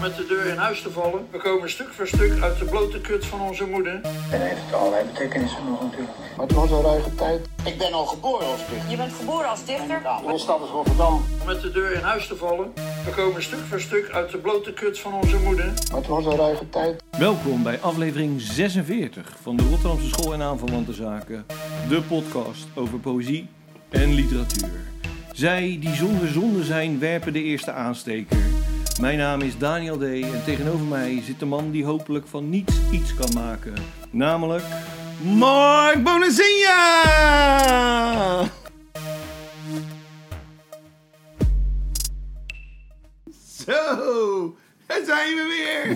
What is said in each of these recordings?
met de deur in huis te vallen. We komen stuk voor stuk uit de blote kut van onze moeder. En heeft allerlei betekenissen nog natuurlijk. Maar het was een ruige tijd. Ik ben al geboren als dichter. Je bent geboren als dichter? Ja, mijn stad is Rotterdam. Met de deur in huis te vallen. We komen stuk voor stuk uit de blote kut van onze moeder. Maar het was een ruige tijd. Welkom bij aflevering 46 van de Rotterdamse School en Aanverwante Zaken. De podcast over poëzie en literatuur. Zij die zonder zonde zijn, werpen de eerste aansteker. Mijn naam is Daniel D. en tegenover mij zit de man die hopelijk van niets iets kan maken. Namelijk... Mark Bonazinha! Zo, daar zijn we weer.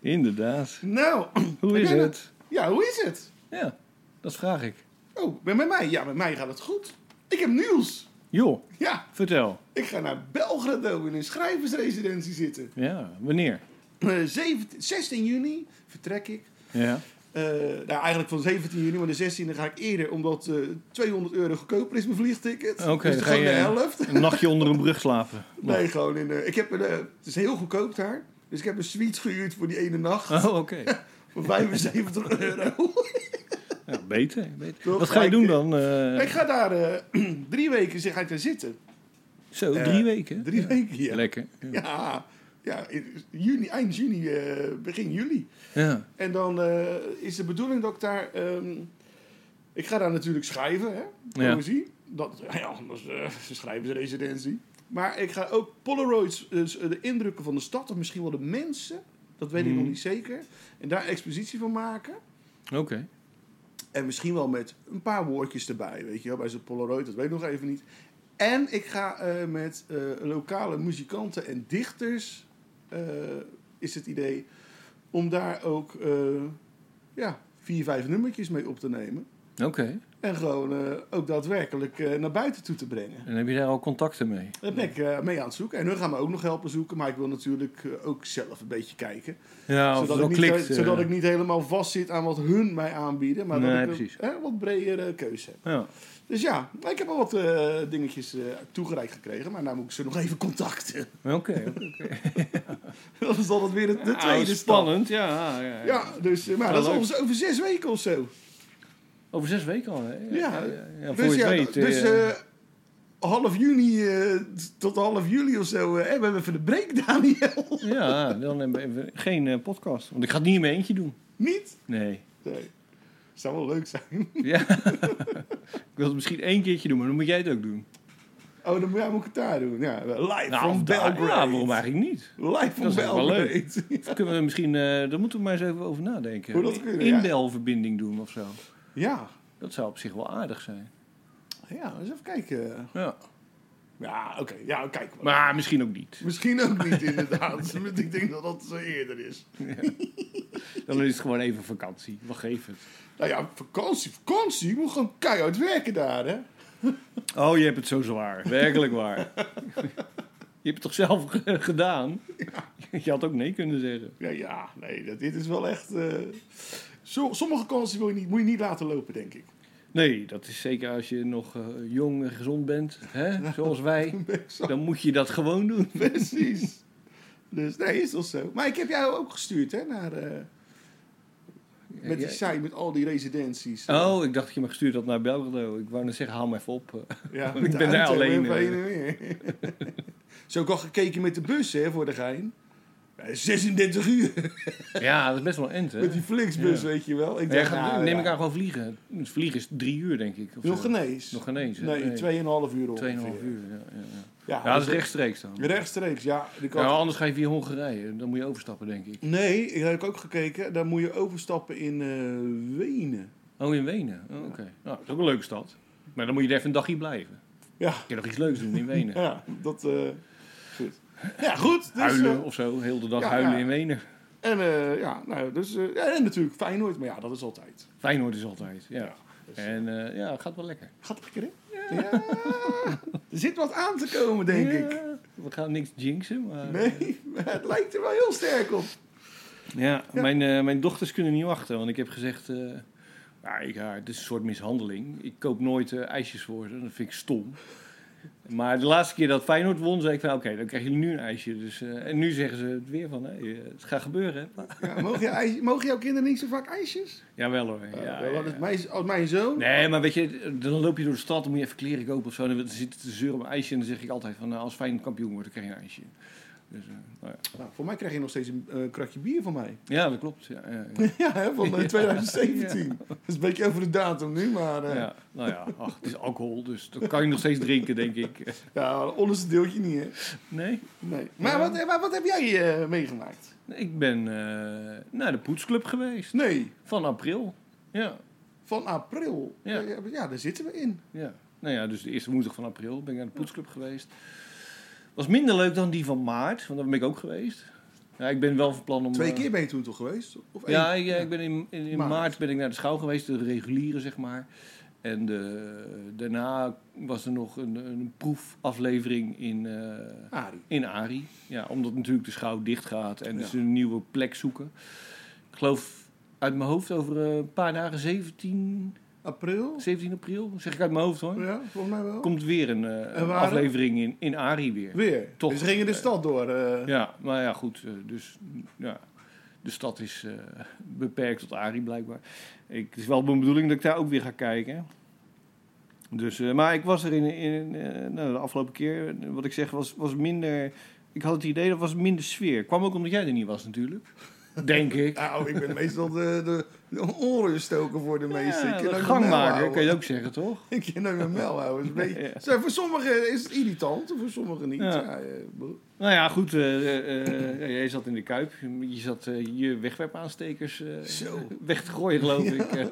Inderdaad. Nou, Hoe ik is ben het? Ja, hoe is het? Ja, dat vraag ik. Oh, ben met mij? Ja, met mij gaat het goed. Ik heb nieuws. Joh, Ja, vertel. ik ga naar Belgrado in een schrijversresidentie zitten. Ja, wanneer? Eh, 17 16 juni vertrek ik. Ja. Eh, nou, eigenlijk van 17 juni, maar de 16e ga ik eerder, omdat eh 200 euro goedkoper is mijn vliegticket. Oké, dus dan dan ga gewoon je- de helft. Een nachtje onder een brug slapen. Nee, gewoon in. eh, ik heb een, eh, het is heel goedkoop daar. Dus ik heb een suite gehuurd voor die ene nacht. Oh, oké. Voor 75 euro. Ja, beter. beter. Toch? Wat ga je Ik- doen dan? eh, Ik ga daar eh, drie weken zeg, ga ik daar zitten. zo, eh, drie weken? Drie Ja. weken, ja. Lekker. Ja. Ja, ja in juni, eind juni, eh, begin juli. Ja. En dan eh, is de bedoeling dat ik daar... ehm, ik ga daar natuurlijk schrijven, hè, Ja. poëzie. Dat, ja, anders eh schrijversresidentie. Maar ik ga ook Polaroids, dus eh, de indrukken van de stad... of misschien wel de mensen, dat weet Mm. ik nog niet zeker... en daar expositie van maken. Oké. En misschien wel met een paar woordjes erbij, weet je wel, bij zo'n Polaroid, dat weet ik nog even niet. En ik ga eh, met eh, lokale muzikanten en dichters, eh, is het idee, om daar ook eh, ja, vier, vijf nummertjes mee op te nemen. Oké. En gewoon eh, ook daadwerkelijk eh, naar buiten toe te brengen. En heb je daar al contacten mee? Daar ben ik eh, mee aan het zoeken. En hun gaan me ook nog helpen zoeken, maar ik wil natuurlijk eh, ook zelf een beetje kijken. Ja, of Oh, zodat het ik, wel niet, klikt. eh, zodat eh. ik niet helemaal vastzit aan wat hun mij aanbieden, maar Nee, dat ik een precies. eh, wat bredere keuze heb. Ja. Dus ja, ik heb al wat eh, dingetjes eh, toegereikt gekregen, maar nou moet ik ze nog even contacten. Oké. oké. dat is altijd weer de, de Ah, tweede stap. spannend. Ja, ja, ja. Ja, dus, eh, maar Ja, dat is leuk. ongeveer over zes weken of zo. Over zes weken al, hè? Ja, ja, voor dus je ja, het weet. dus eh, eh, half juni eh, t- tot half juli of zo eh, hebben we even de break, Daniel. ja, dan hebben we geen eh, podcast. Want ik ga het niet in mijn eentje doen. Niet? Nee. Nee. Zou wel leuk zijn. Ja. ik wil het misschien één keertje doen, maar dan moet jij het ook doen. Oh, dan moet- ja, moet ik het daar doen. Ja, eh, live Nou, from of daar- Belgrade. Ja, waarom eigenlijk niet? Live from Dat is echt wel leuk. Belgrade. Of kunnen we misschien, eh, daar moeten we maar eens even over nadenken. Hoe dat kunnen, ja. Inbelverbinding doen of zo. Ja. Dat zou op zich wel aardig zijn. Ja, eens even kijken. Ja. Ja, oké. Ja, kijk. Maar misschien ook niet. Misschien ook niet, inderdaad. Want ik denk dat dat zo eerder is. Dan is het gewoon even vakantie. Wat geeft het? Nou ja, vakantie, vakantie. Je moet gewoon keihard werken daar, hè? Oh, je hebt het zo zwaar. Werkelijk waar. je hebt het toch zelf g- gedaan? Je had ook nee kunnen zeggen. Ja, ja nee, dat, dit is wel echt... eh, zo, sommige vakanties wil je niet, moet je niet laten lopen, denk ik. Nee, dat is zeker als je nog eh, jong en gezond bent. Hè? Zoals wij. Dan moet je dat gewoon doen. Precies. Dus nee, is dat zo. Maar ik heb jou ook gestuurd, hè, naar... eh, met die site, met al die residenties. Oh, ik dacht dat je me gestuurd had naar Belgrado. Ik wou net zeggen, haal me even op. eh. ja, ik ben daar alleen, Zo eh. Zo ook al gekeken met de bus, hè, voor de gein. Ja, 36 uur. Ja, dat is best wel een ent, hè? Met die Flixbus, Ja. weet je wel. Ik Maar jij dacht, gaat, nou, neem ja. ik aan gewoon vliegen. Het vliegen is drie uur, denk ik. of Nog zo. genees. Nog geen eens, hè? Nee, Nee. 2,5 uur ongeveer. Tweeënhalf uur, ja. Ja, ja. Ja, ja dat is dus- rechtstreeks dan. Rechtstreeks, ja. Die Ja, kant- anders ga je via Hongarije. Dan moet je overstappen, denk ik. Nee, ik heb ook gekeken. Daar moet je overstappen in eh, Wenen. Oh, in Wenen. Oh, Oké. Nou, dat is ook een leuke stad. Maar dan moet je er even een dagje blijven. Ja, Kun je nog iets leuks doen in Wenen. ja dat... eh, goed. Ja, goed. Dus, Huilen eh, of zo. Heel de dag ja, huilen ja. in Wenen. en, eh, ja, nou, dus, eh, ja, en natuurlijk Feyenoord. Maar ja, dat is altijd. Feyenoord is altijd, ja. dus- En eh, ja, gaat wel lekker. Gaat lekker, hè? Ja. Er zit wat aan te komen, denk Ja, ik. We gaan niks jinxen, maar... Nee, maar het lijkt er wel heel sterk op. Ja, Mijn, eh, mijn dochters kunnen niet wachten, want ik heb gezegd... eh, ja, ik, ja, het is een soort mishandeling. Ik koop nooit eh, ijsjes voor ze, dat vind ik stom. Maar de laatste keer dat Feyenoord won, zei ik van oké, dan krijg je nu een ijsje. Dus, eh, en nu zeggen ze het weer van, hé, eh, het gaat gebeuren. Hè? Ja, mogen, je ijs- mogen jouw kinderen niet zo vaak ijsjes? Jawel hoor. Ja, ja, ja. Als, mijn, als mijn zoon... Nee, maar weet je, dan loop je door de stad, dan moet je even kleren kopen of zo. En dan zit het te zeuren op een ijsje. En dan zeg ik altijd van, nou, als Feyenoord kampioen wordt, dan krijg je een ijsje. Dus, eh, nou ja. Nou, voor mij krijg je nog steeds een eh, kratje bier van mij. ja, dat klopt. Ja, ja, ja. Ja, hè, van eh, 2017. Dat is een beetje over de datum nu, maar... eh, ja. Ja, nou ja, ach, het is alcohol, dus dat kan je nog steeds drinken, denk ik. maar het onderste deeltje niet, hè. Nee? Nee. Maar, wat, maar wat heb jij eh, meegemaakt? Ik ben eh, naar de poetsclub geweest. Nee, Van april. Ja, van april. Ja. Ja, ja, daar zitten we in. ja. Nou ja, dus de eerste woensdag van april ben ik naar de poetsclub geweest. Was minder leuk dan die van maart, want daar ben ik ook geweest. Ja, ik ben wel van plan om... Twee eh, keer ben je toen toch geweest? Of één? Ja, ik, eh, ik ben in, in, in Maart. maart. ben ik naar de schouw geweest, de reguliere zeg maar. En de, daarna was er nog een, een proefaflevering in, eh, Arie. in Ari. Ja, omdat natuurlijk de schouw dicht gaat en Ja. ze een nieuwe plek zoeken. Ik geloof uit mijn hoofd over eh, een paar dagen, 17, April? 17 april, zeg ik uit mijn hoofd hoor. Ja, volgens mij wel. Komt weer een eh, En waar? aflevering in, in Ari weer. Weer. Toch. Dus ze gingen de stad door. eh. Ja, maar ja, goed. eh, Dus ja, de stad is eh, beperkt tot Arie blijkbaar. Ik, het is wel mijn bedoeling dat ik daar ook weer ga kijken. Dus, eh, maar ik was er in, in eh, nou, de afgelopen keer, eh, wat ik zeg, was, was minder... Ik had het idee dat was minder sfeer. Kwam ook omdat jij er niet was natuurlijk. Denk ik. Nou, ik ben meestal de, de, de onruststoker voor de meesten. Ja, ik de kan ook mijn mel gangmaker, houden. kan je ook zeggen, toch? Ik ken ook mijn mel houden. Is een beetje... Ja. Zo, voor sommigen is het irritant, en voor sommigen niet. Ja. Ja, eh, boe. Nou ja, goed. eh, eh, eh, ja, jij zat in de Kuip. Je zat eh, je wegwerpaanstekers eh, Zo. weg te gooien, geloof ik. Eh,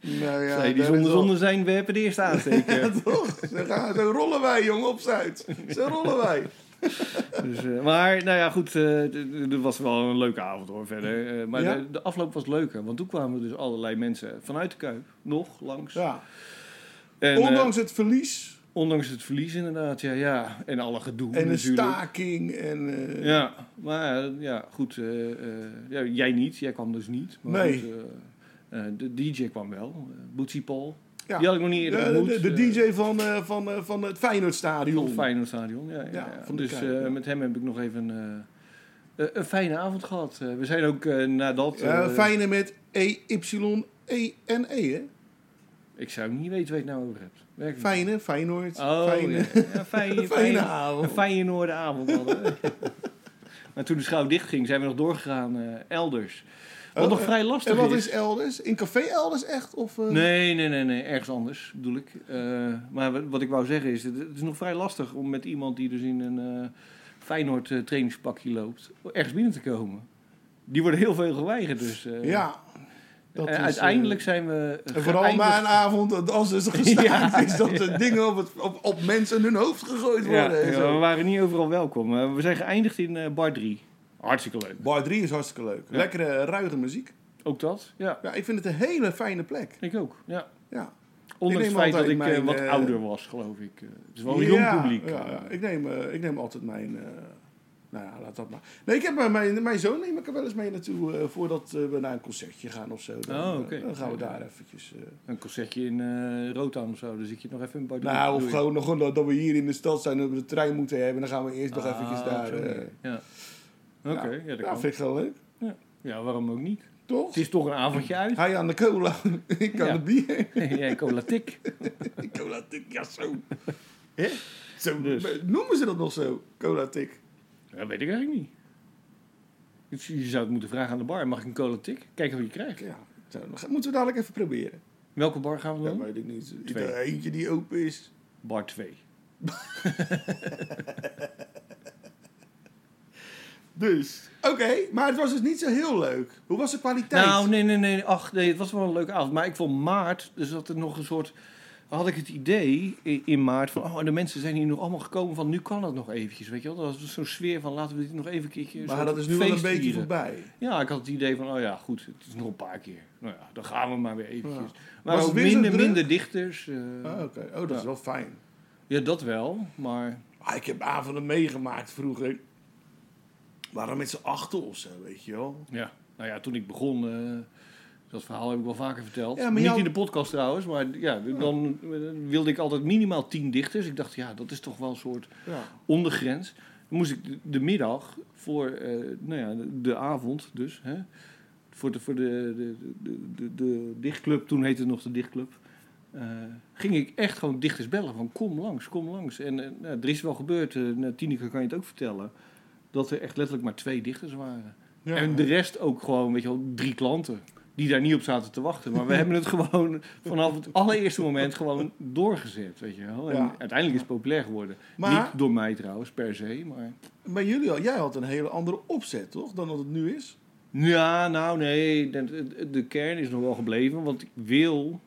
nou ja, nee, die daar zonder is wel- zonde zijn werpen de eerste aansteken. Toch? Zo, gaan, zo rollen wij, jongen, op Zuid. Zo rollen wij. dus, eh, maar nou ja, goed, eh, d- d- het was wel een leuke avond hoor verder. Eh, maar Ja? de, de afloop was leuker, want toen kwamen dus allerlei mensen vanuit de Kuip nog langs. Ja. En, eh, Ondanks het verlies ondanks het verlies inderdaad, ja, ja. En alle gedoe en de natuurlijk. staking en... eh, Ja, maar eh, ja, goed, eh, eh, ja, jij niet, jij kwam dus niet. Maar Nee. goed, eh, eh, de DJ kwam wel, eh, Bootsy Paul. Ja. Die had ik nog niet eerder De, ontmoet. de- de eh, DJ van, eh, van, eh, van het Feyenoordstadion. Op Feyenoordstadion, ja. ja, Ja, ja. van de Dus Kuip, eh, ja. met hem heb ik nog even eh, eh, een fijne avond gehad. Eh, we zijn ook eh, nadat... eh, Ja, Feyenoord met E E-Y-E-N-E, E, hè? Ik zou niet weten waar je het nou over hebt. Werkelijk. Fijne, Feyenoord. Oh, Fijne. ja. Ja, fijne, Fijne fijne avond. Een Feyenoordenavond hadden we. maar toen de schouw dichtging, zijn we nog doorgegaan eh, elders. Wat Oh, nog eh, vrij En lastig wat is... is elders? In café elders echt? Of, eh? Nee, nee, nee, nee, ergens anders bedoel ik. Eh, maar wat- wat ik wou zeggen is, het het is nog vrij lastig om met iemand die dus in een eh, Feyenoord eh, trainingspakje loopt, ergens binnen te komen. Die worden heel veel geweigerd dus. eh. Ja. Dat En is, eh, uiteindelijk zijn we eh, en vooral geëindigd- na een avond, dat als dus er gestaakt Ja, is, dat er dingen op, het, op, op mensen hun hoofd gegooid Ja, worden. en ja, zo. we waren niet overal welkom. Eh, we zijn geëindigd in eh, bar 3. Hartstikke leuk. Bar 3 is hartstikke leuk. Ja. Lekkere, eh, ruige muziek. Ook dat? Ja, Ja, ik vind het een hele fijne plek. ik ook. Ja. Ja. Ondanks Ik het neem feit dat ik altijd eh, mijn, wat eh, ouder was, geloof ik. Eh, het is wel een Ja, jong publiek. Ja, ja. Ik, neem, eh, ik neem altijd mijn... eh, nou ja, laat dat maar. Nee, ik heb, eh, mijn, mijn zoon neem ik er wel eens mee naartoe eh, voordat eh, we naar een concertje gaan of zo. Dan, Oh, eh, oké. dan gaan we daar eventjes... eh, Een concertje in eh Rotterdam of zo, dan zit je nog even in bar 3. nou, bedoel of je? gewoon nog gewoon dat we hier in de stad zijn dat we de trein moeten hebben. Dan gaan we eerst nog Ah, eventjes daar... zo. eh, ja. Oké, ja. dat Nou, ja, kan. vind ik wel leuk. Ja, waarom ook niet? Toch? Het is toch een avondje uit. Hij aan de cola, ik aan Ja. de bier. Jij cola tik. cola tik, ja zo. Hè? zo Dus. Noemen ze dat nog zo? Cola tik. Dat weet ik eigenlijk niet. Dus Je zou het moeten vragen aan de bar. Mag ik een cola tik? Kijken wat je krijgt. Ja, zo, dan gaan- moeten we dadelijk even proberen. Welke bar gaan we Dat dan? weet ik niet. Twee. Er eentje die open is. Bar 2. Dus. Oké, maar het was dus niet zo heel leuk. Hoe was de kwaliteit? Nou, nee, nee, nee. Ach, nee, het was wel een leuke avond. Maar ik vond maart, dus dat er nog een soort... Had ik het idee i- in maart van, oh, de mensen zijn hier nog allemaal gekomen van, nu kan het nog eventjes, weet je wel. Dat was zo'n sfeer van, laten we dit nog even een keertje... een maar soort dat is nu wel een feest beetje vieren. voorbij. Ja, ik had het idee van, oh ja, goed, het is nog een paar keer. Nou ja, dan gaan we maar weer eventjes. Was Maar het ook weer zo minder, druk? minder dichters. eh, Ah, Oké, oh, dat Ja. is wel fijn. Ja, dat wel, maar... Ah, ik heb avonden meegemaakt vroeger. Waarom met z'n achten of zo, weet je wel? Ja, nou ja, toen ik begon eh, Dat verhaal heb ik wel vaker verteld. Ja, maar Niet jou- in de podcast trouwens, maar ja, dan eh, wilde ik altijd minimaal tien dichters. Ik dacht, ja, dat is toch wel een soort Ja. ondergrens. Dan moest ik de, de middag voor, eh, nou ja, de, de avond dus, hè, voor, de, voor de, de, de, de, de dichtclub, toen heette het nog de dichtclub, eh, ging ik echt gewoon dichters bellen van kom langs, kom langs. En eh, nou, er is wel gebeurd, eh nou, Tineke kan je het ook vertellen, dat er echt letterlijk maar twee dichters waren. Ja. En de rest ook gewoon, weet je wel, drie klanten. Die daar niet op zaten te wachten. Maar we hebben het gewoon vanaf het allereerste moment gewoon doorgezet, weet je wel. En Ja. uiteindelijk is het populair geworden. Maar- Niet door mij trouwens, per se, maar... Maar jullie, al- jij had een hele andere opzet, toch? Dan dat het nu is. Ja, nou nee, de, de- de kern is nog wel gebleven. Want ik wil,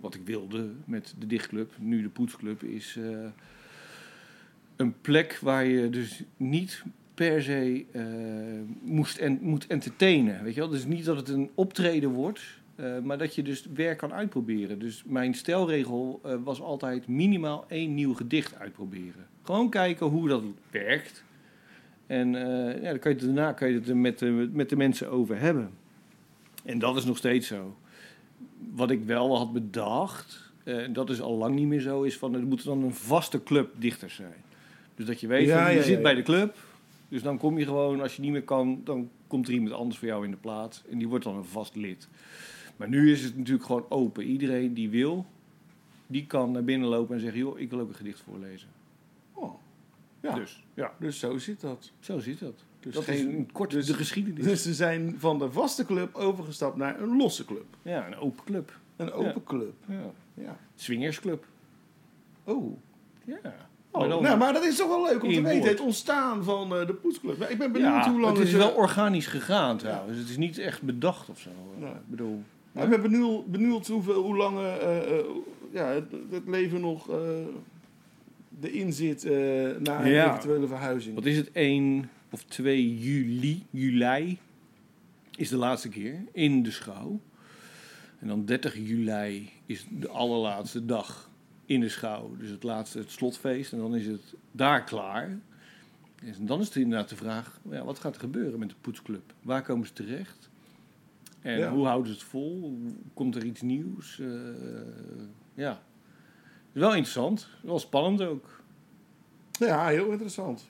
wat ik wilde met de dichtclub, nu de poetsclub, is eh, een plek waar je dus niet per se eh, moest en, moet entertainen. Weet je wel? Dus niet dat het een optreden wordt, eh, maar dat je dus werk kan uitproberen. Dus mijn stelregel eh, was altijd minimaal één nieuw gedicht uitproberen. Gewoon kijken hoe dat werkt. En eh, ja, dan kan je het, daarna kan je het er met de, met de mensen over hebben. En dat is nog steeds zo. Wat ik wel had bedacht, eh, en dat is al lang niet meer zo, is van er moet dan een vaste club dichters zijn. Dus dat je weet, Ja, van, je ja, zit ja. bij de club, dus dan kom je gewoon, als je niet meer kan, dan komt er iemand anders voor jou in de plaats. En die wordt dan een vast lid. Maar nu is het natuurlijk gewoon open. Iedereen die wil, die kan naar binnen lopen en zeggen, joh, ik wil ook een gedicht voorlezen. Oh. Ja. Dus. Dus ja, zo zit dat. zo zit dat. Dus dat geen- is een korte dus- de geschiedenis. Dus ze zijn van de vaste club overgestapt naar een losse club. Ja, een open club. Een open club. Ja. Ja. Swingersclub. Oh. Ja. Oh, dan- nou, maar dat is toch wel leuk om te In weten. woord. Het ontstaan van eh, de poetsclub. Nou, ik ben benieuwd ja, hoe lang het is eh, wel organisch gegaan trouwens. Het is niet echt bedacht of zo. eh. Nee. Ik bedoel, nou, ik ben benieuwd, benieuwd hoeveel, hoe lang eh, eh, ja, het, het leven nog eh erin zit eh, na een Ja. eventuele verhuizing. wat is het? 1 of 2 juli, juli is de laatste keer in de schouw. En dan 30 juli is de allerlaatste dag in de schouw. Dus het laatste, het slotfeest. En dan is het daar klaar. En dan is het inderdaad de vraag, ja, wat gaat er gebeuren met de poetsclub? Waar komen ze terecht? En Ja. hoe houden ze het vol? Komt er iets nieuws? Eh, ja. Het is wel interessant. Wel spannend ook. Nou Ja, heel interessant.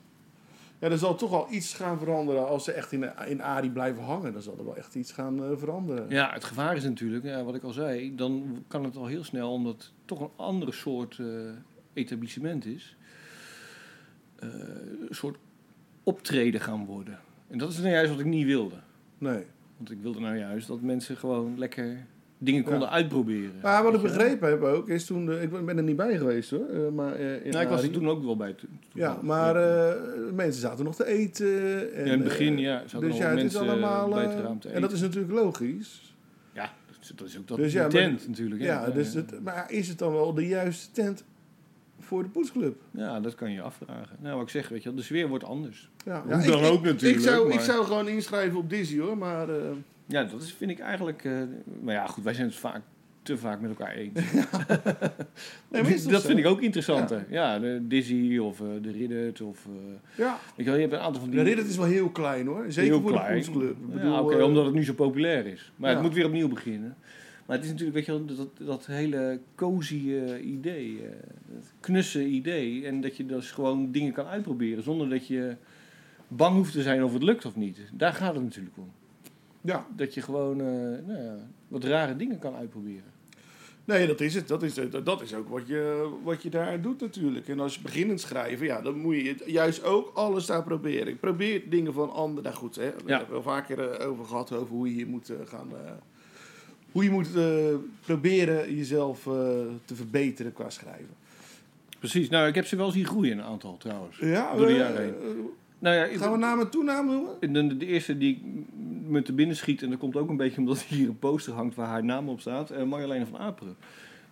Ja, er zal toch al iets gaan veranderen. Als ze echt in, in Arie blijven hangen, dan zal er wel echt iets gaan eh, veranderen. Ja, het gevaar is natuurlijk, ja, wat ik al zei, dan kan het al heel snel, omdat het toch een andere soort eh, etablissement is, eh, een soort optreden gaan worden. En dat is nou juist wat ik niet wilde. Nee. Want ik wilde nou juist dat mensen gewoon lekker dingen konden Ja. uitproberen. Maar wat ik Weet je wel? begrepen heb ook, is toen... De, ik ben er niet bij geweest hoor. eh, maar, eh, in Nou, ik was er Arie. toen ook wel bij. to- Ja, toevallig. maar eh, mensen zaten nog te eten. En, Ja, in het begin, eh, ja, zaten dus nog ja, het is mensen allemaal... bij eh, het raam te en dat is natuurlijk logisch. Ja, dat is- dat is ook dat Dus ja, maar- intent natuurlijk. hè. Eh, Ja, dus ja. het, maar is het dan wel de juiste tent voor de poetsclub? Ja, dat kan je afvragen. Nou, wat ik zeg, weet je wel, de sfeer wordt anders. Ja, Hoe ja, dan ook Ik natuurlijk, zou, ik maar- zou gewoon inschrijven op Dizzy hoor, maar... eh, Ja, dat is, vind ik eigenlijk. eh, maar ja, goed, wij zijn het vaak te vaak met elkaar eens. nee, maar is toch dat zo? vind ik ook interessanter. Ja, de Dizzy of eh, de Riddert of. eh, Ja. weet je, wel, je hebt een aantal van die. De Riddert is wel heel klein hoor. Zeker heel voor klein. de poetsclub. Ik ja, bedoel, oké, eh, omdat het nu zo populair is. Maar ja. het moet weer opnieuw beginnen. Maar het is natuurlijk, weet je wel, dat, dat hele cozy eh, idee, eh, het knusse idee. En dat je dus gewoon dingen kan uitproberen zonder dat je bang hoeft te zijn of het lukt of niet. Daar gaat het natuurlijk om. Ja, Dat je gewoon eh, nou ja, wat rare dingen kan uitproberen. nee, dat is het. Dat is, eh, dat dat is ook wat je, wat je daar doet natuurlijk. En als je beginnend schrijven, ja, dan moet je het juist ook alles daar proberen. Ik probeer dingen van anderen. Nou goed, hè, we Ja. hebben het wel vaker eh, over gehad over hoe je hier moet eh, gaan. eh, hoe je moet eh, proberen jezelf eh, te verbeteren qua schrijven. Precies. Nou, ik heb ze wel zien groeien, een aantal trouwens. Ja, Door de eh, jaren heen. eh, Nou ja, ik- gaan we naam en toename noemen? de, de eerste die ik m- me te binnen schiet, en dat komt ook een beetje omdat hier een poster hangt waar haar naam op staat, eh, Marjolein van Aperen.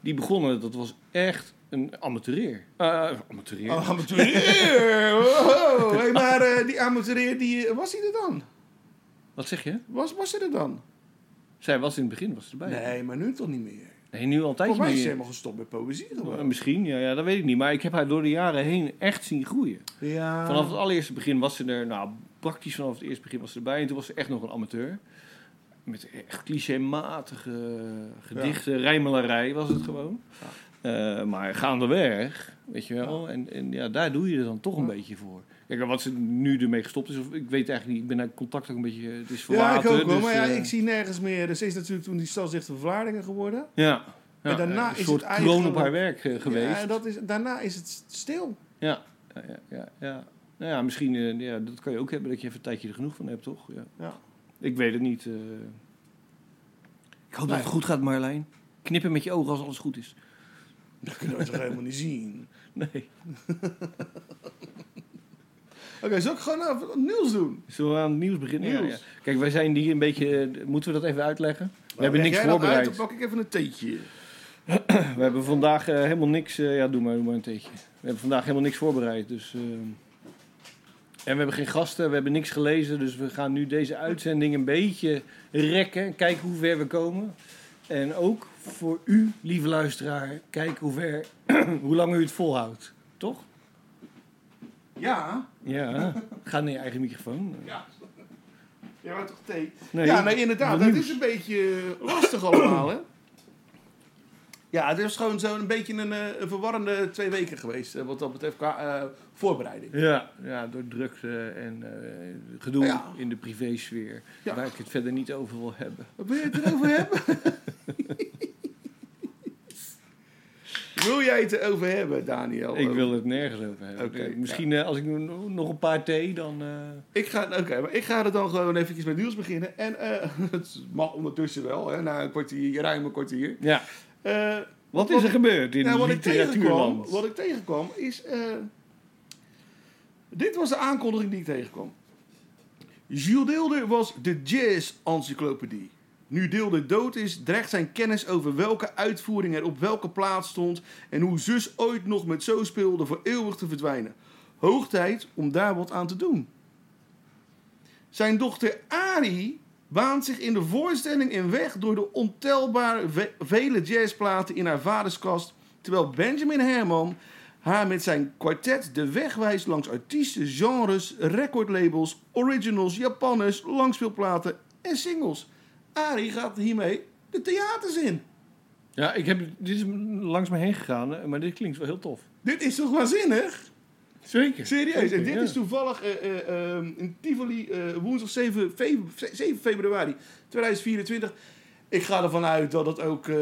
Die begonnen, dat was echt een amateurier. Eh amateurier? Oh, amateur! Wow. Hey, maar eh, die amateur, die, eh, was hij er dan? Wat zeg je? Was, was ze er dan? Zij was in het begin was ze erbij. Nee, maar nu toch niet meer. Nee, nu altijd Volgens mij is niet ze meer. helemaal gestopt met poëzie Eh, gewoon. Misschien, ja, ja, dat weet ik niet. Maar ik heb haar door de jaren heen echt zien groeien. Ja. Vanaf het allereerste begin was ze er, nou, praktisch vanaf het eerste begin was ze erbij. En toen was ze echt nog een amateur. met echt clichématige gedichten, rijmelarij was het gewoon. Eh, maar gaandeweg, weet je wel, en, en ja, daar doe je er dan toch een beetje voor. Kijk, en wat ze nu ermee gestopt is, of, ik weet eigenlijk niet, ik ben uit contact ook een beetje, het is Ja, ik verlaten. ook wel. dus, Maar ja, eh, ik zie nergens meer. Dus ze is natuurlijk toen die stadsdichter van Vlaardingen geworden. Ja. En Ja, daarna een is soort het kroon op eigenlijk- haar werk eh, geweest. Ja, en dat is, daarna is het stil. Ja, ja, ja. ja, ja. Nou ja, misschien, eh, ja, dat kan je ook hebben dat je even een tijdje er genoeg van hebt, toch? Ja. Ja. Ik weet het niet. eh. Ik hoop dat het goed gaat, Marlijn. Knippen met je ogen als alles goed is. Dat kunnen we toch helemaal niet zien. Nee. Oké, zal ik gewoon even wat nieuws doen? Zullen we aan het nieuws beginnen? Ja, Nieuws. ja. Kijk, wij zijn hier een beetje... eh, moeten we dat even uitleggen? We hebben Leg niks jij dat voorbereid. Uit, dan pak ik even een theetje. We hebben vandaag eh, helemaal niks... eh, ja, doe maar, doe maar een teetje. We hebben vandaag helemaal niks voorbereid, dus... ehm. en we hebben geen gasten, we hebben niks gelezen. Dus we gaan nu deze uitzending een beetje rekken. Kijken hoe ver we komen. En ook voor u, lieve luisteraar, kijk hoe ver... hoe lang u het volhoudt. Toch? Ja. Ja. Ga naar je eigen microfoon. Jij wou toch thee? Nee, ja, nee, inderdaad. wat Dat nieuws. is een beetje eh, lastig allemaal, hè? Ja, het is gewoon zo'n beetje een, eh, een verwarrende twee weken geweest. eh, Wat dat betreft qua eh, voorbereiding. Ja, ja, door drukte en eh, gedoe Ja. in de privésfeer. Ja. Waar ik het verder niet over wil hebben. Wat wil je het erover hebben? wil jij het erover hebben, Daniel? Ik wil het nergens over hebben. Oké, Eh, Misschien eh, als ik no- nog een paar thee, dan... eh, Ik ga, oké, maar ik ga er dan gewoon eventjes met nieuws beginnen. En eh, het mag ondertussen wel, hè, na een kwartier, ruim een kwartier. Ja. Eh, Wat is er gebeurd in nou, wat, ik tegenkwam, literatuurland? wat ik tegenkwam is... eh, dit was de aankondiging die ik tegenkwam. Jules Deelder was de jazz-encyclopedie. Nu Deelder dood is, dreigt zijn kennis over welke uitvoering er op welke plaats stond... en hoe zus ooit nog met zo speelde voor eeuwig te verdwijnen. Hoog tijd om daar wat aan te doen. Zijn dochter Ari waant zich in de voorstelling een weg door de ontelbare ve- vele jazzplaten in haar vaders kast, terwijl Benjamin Herman haar met zijn kwartet de weg wijst langs artiesten, genres, recordlabels, originals, Japanners, langspeelplaten en singles. Ari gaat hiermee de theaters in. Ja, ik heb, dit is langs me heen gegaan, eh, maar dit klinkt wel heel tof. Dit is toch waanzinnig? Zeker. Serieus, en dit ja. is toevallig eh, eh, ehm, in Tivoli eh, woensdag 7, feb- 7 februari 2024. Ik ga ervan uit dat het ook eh,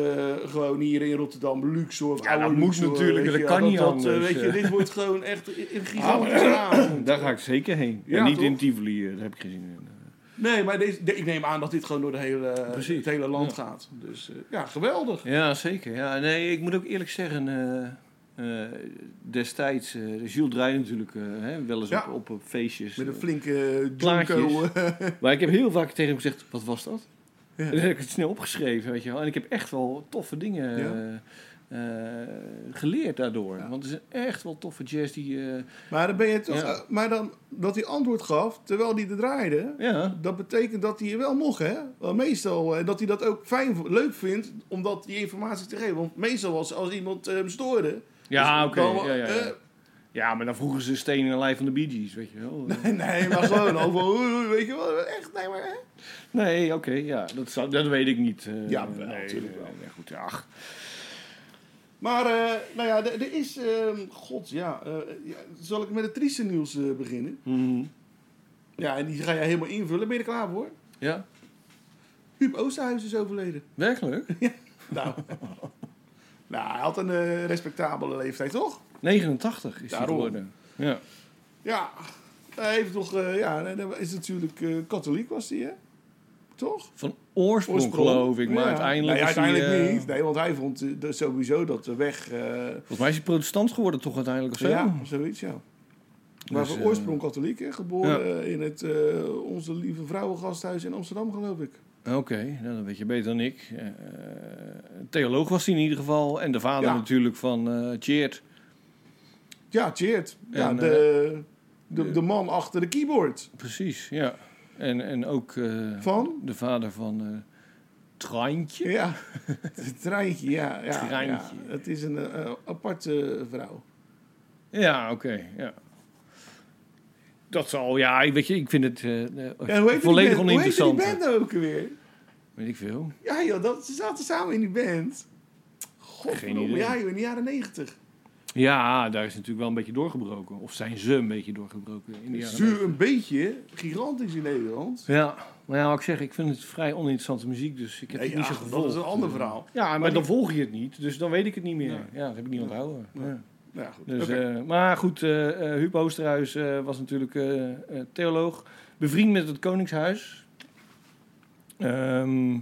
gewoon hier in Rotterdam, Luxor, of Ja, dat oude moet Luxor, natuurlijk, weet dat je, kan niet eh, anders, weet je, eh. dit wordt gewoon echt een een gigantische avond. Daar ga ik zeker heen. Ja, en niet toch? in Tivoli, eh, daar heb ik geen zin in. Nee, maar deze, de- ik neem aan dat dit gewoon door de hele, eh, Precies. het hele land Ja. gaat. Dus eh, ja, geweldig. Ja, zeker. Ja, nee, ik moet ook eerlijk zeggen, eh, eh, destijds, eh Jules draait natuurlijk eh, hè, wel eens Ja. op, op, op feestjes. Met een eh, flinke Plaatjes. Junko. eh, Maar ik heb heel vaak tegen hem gezegd, wat was dat? En dan heb ik het snel opgeschreven, weet je wel. En ik heb echt wel toffe dingen Ja. eh, eh, geleerd daardoor. Want het is echt wel toffe jazz die... eh, Maar dan ben je toch, Ja. eh, maar dan dat hij antwoord gaf terwijl hij er draaide. ja, Dat betekent dat hij er wel mocht, hè? Wel, meestal. eh, En dat hij dat ook fijn, v- leuk vindt om dat, die informatie te geven. Want meestal was als iemand eh, hem stoorde. ja dus oké. dan- Ja, ja, ja. eh, ja, maar dan vroegen ze steen in de lijf van de Bee Gees, weet je wel. nee, maar gewoon over. oei, oei, Weet je wel, echt, nee, maar. Hè? nee, oké, ja, dat, zou- dat weet ik niet. eh, Ja, wel, nee, natuurlijk wel. nee, goed, ach. Maar, eh, nou ja, er er is. ehm, God, ja, eh, ja, Zal ik met het trieste nieuws eh, beginnen? Mhm. Ja, en die ga jij helemaal invullen. Ben je er klaar voor? Ja, Huub Oosterhuis is overleden. werkelijk? Nou. nou, hij had een eh, respectabele leeftijd, toch? 89 is hij Daarom. geworden. Ja. Ja, hij heeft toch, eh, ja, nee, dat is natuurlijk eh, katholiek was hij, hè? Toch? Van oorsprong, geloof ik, maar Ja. uiteindelijk Nee, is hij, uiteindelijk eh, niet. Nee, want hij vond eh, dat sowieso dat de weg... eh, Volgens mij is hij protestant geworden toch uiteindelijk of zo? ja, zoiets, ja. Maar Dus, van eh, oorsprong katholiek, hè? Geboren eh, in het eh, Onze Lieve Vrouwengasthuis in Amsterdam, geloof ik. Oké, nou, dat weet je beter dan ik. Eh, theoloog was hij in ieder geval. En de vader Ja. natuurlijk van eh Cheert. Ja, cheered. Ja, En, eh, de, de, de man achter de keyboard. Precies, ja. En, en ook eh, Van? de vader van eh Trantje. Ja, het treintje, ja. ja, Treintje. ja. Het is een eh, aparte vrouw. Ja, oké, ja. Dat zal, ja, ik weet je, ik vind het eh, eh, Ja, hoe heet die volledig band- oninteressant. Hoe heet die band nou ook weer? Weet ik veel. Ja joh, dat, ze zaten samen in die band. Geen Godverdomme, idee. ja joh, in de jaren negentig. Ja, daar is natuurlijk wel een beetje doorgebroken. Of zijn ze een beetje doorgebroken in de jaren Zuur een beetje, gigantisch in Nederland. Ja, maar ja, wat ik zeg, ik vind het vrij oninteressante muziek, dus ik heb Nee, het niet ja, zo gevolgd. eh. dat is een ander verhaal. Ja, maar dan volg je het niet, dus dan weet ik het niet meer. Ja, dat heb ik niet onthouden. Ja. Nou ja, goed. Dus, Oké. eh, maar goed, eh eh, Huub Oosterhuis eh, was natuurlijk eh, eh, theoloog, bevriend met het Koningshuis. Ehm,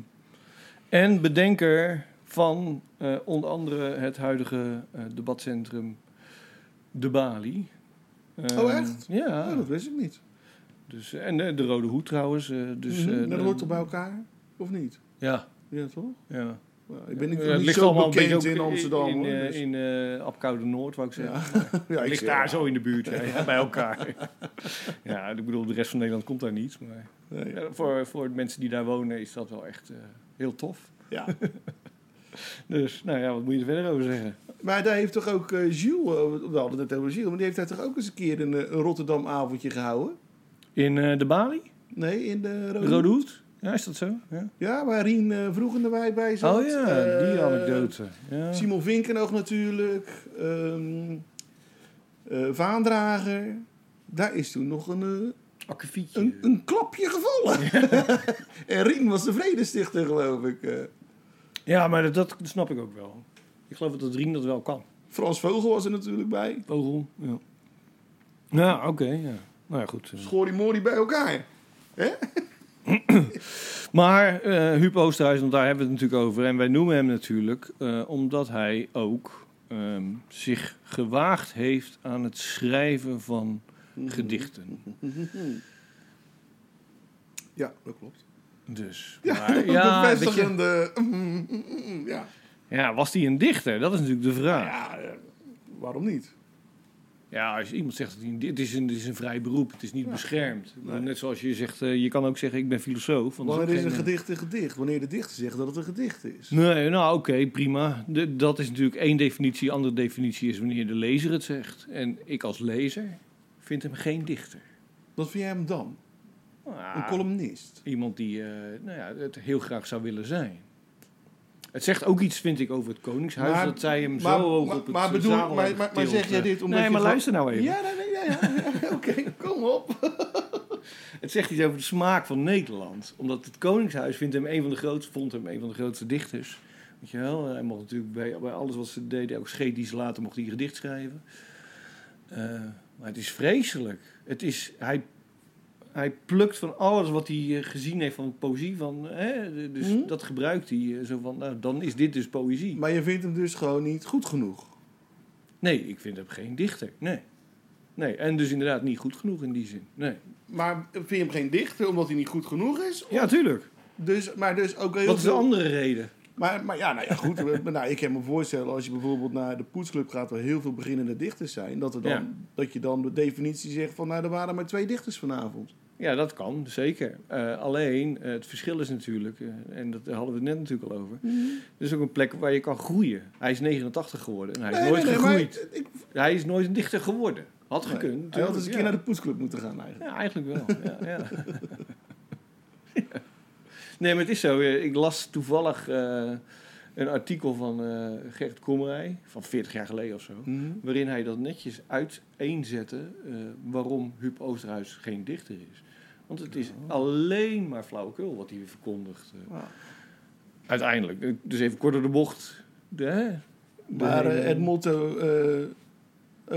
en bedenker van eh, onder andere het huidige eh, debatcentrum De Bali. Ehm, Oh, echt? Ja. Oh, dat wist ik niet. Dus, eh, en eh, de Rode Hoed trouwens. eh, dus, Mhm. eh, Maar de- dat hoort toch bij elkaar? Of niet? Ja, Ja, toch? ja. Nou, ik ben niet, Eh, niet ligt zo allemaal een bekend beetje ook in Amsterdam. In, hoor, eh, dus- in eh, Apkoude Noord, wou ik zeggen. ja, ik ligt zeg- daar zo in de buurt, ja, ja, bij elkaar. ja, ik bedoel, de rest van Nederland komt daar niet. Maar Nee. ja, voor, voor de mensen die daar wonen is dat wel echt eh, heel tof. Ja. Dus, nou ja, wat moet je er verder over zeggen? Maar daar heeft toch ook eh Jules, eh, we hadden het net over Jules, maar die heeft daar toch ook eens een keer een, eh, een Rotterdam-avondje gehouden? In eh, de Bali? Nee, in de Rode, De Rode Hoed? Ja, is dat zo? Ja. Ja, waar Rien eh vroeg in de wijk bij zat. Oh ja, Eh, die anekdote. Ja. Simon Vinkenoog natuurlijk. ehm, eh, Vaandrager. Daar is toen nog een, eh, Akkefietje. een, een klapje gevallen. en Rien was de vredestichter, geloof ik. eh. Ja, maar dat, dat snap ik ook wel. Ik geloof dat Rien dat wel kan. Frans Vogel was er natuurlijk bij. Vogel, ja. Nou, oké, ja. Nou ja, goed. eh. Schorrie Mori bij elkaar. Maar eh Huub Oosterhuis, want daar hebben we het natuurlijk over. En wij noemen hem natuurlijk eh, omdat hij ook ehm, zich gewaagd heeft aan het schrijven van gedichten. Ja, dat klopt. Dus, Ja, maar, ja ja, weet je, bevestigende... mm, mm, mm, mm, ja. ja, was hij een dichter? Dat is natuurlijk de vraag. ja, eh, waarom niet? Ja, als iemand zegt dat hij een, di- het, is een, het is een vrij beroep, het is niet beschermd. Ik bedoel, Net zoals je zegt, eh, je kan ook zeggen: ik ben filosoof. want dat Wanneer is is ook een geen- eh, gedicht een gedicht? Wanneer de dichter zegt dat het een gedicht is. Nee, nou oké, prima. De- dat is natuurlijk één definitie. Andere definitie is wanneer de lezer het zegt. En ik als lezer vind hem geen dichter. Wat vind jij hem dan? Een Ah, columnist? Iemand die eh, nou ja, het heel graag zou willen zijn. Het zegt ook iets, vind ik, over het Koningshuis. Maar- dat zij hem maar- zo hoog maar- op het maar bedoel- zadel maar- hebben maar- maar getild. eh. zeg jij dit omdat Nee, je maar gewoon- luister nou even. Ja, nee, nee, ja, ja. ja, oké, kom op. Het zegt iets over de smaak van Nederland. Omdat het Koningshuis vindt hem een van de grootste, vond hem een van de grootste dichters. Weet je wel, hij mocht natuurlijk bij, bij alles wat ze deden, ook scheet die ze later mocht hij een gedicht schrijven. Eh, maar het is vreselijk. Het is, hij, hij plukt van alles wat hij eh, gezien heeft van poëzie. Van, hè, de- dus Mhm. dat gebruikt hij. eh, Zo van, nou, dan is dit dus poëzie. Maar je vindt hem dus gewoon niet goed genoeg. Nee, ik vind hem geen dichter. Nee. nee. En dus inderdaad niet goed genoeg in die zin. Nee. Maar vind je hem geen dichter omdat hij niet goed genoeg is? Ja, tuurlijk. Dus, maar dus ook heel Wat is de veel- andere reden? Maar, maar ja, nou ja, goed. we- maar nou, ik kan me voorstellen, als je bijvoorbeeld naar de poetsclub gaat... waar heel veel beginnende dichters zijn... dat, er dan, Ja. dat je dan de definitie zegt van... nou, er waren maar twee dichters vanavond. Ja, dat kan, zeker. Eh, alleen, eh, het verschil is natuurlijk, eh, en dat hadden we het net natuurlijk al over... Mhm. Er is ook een plek waar je kan groeien. Hij is 89 geworden en hij is nooit gegroeid. maar ik, Hij is nooit een dichter geworden. Had gekund. nee, hij had eens een keer ja. naar de poetsclub moeten gaan eigenlijk. Ja, eigenlijk wel. ja, ja. Ja. Nee, maar het is zo. eh, Ik las toevallig eh, een artikel van eh Gert Komrij, van 40 jaar geleden of zo... waarin hij dat netjes uiteenzette eh, waarom Huub Oosterhuis geen dichter is. Want het is alleen maar flauwekul wat hij verkondigt. eh. Ja. Uiteindelijk, eh, dus even kort door de bocht. De, hè? De Maar eh, hele- het motto eh,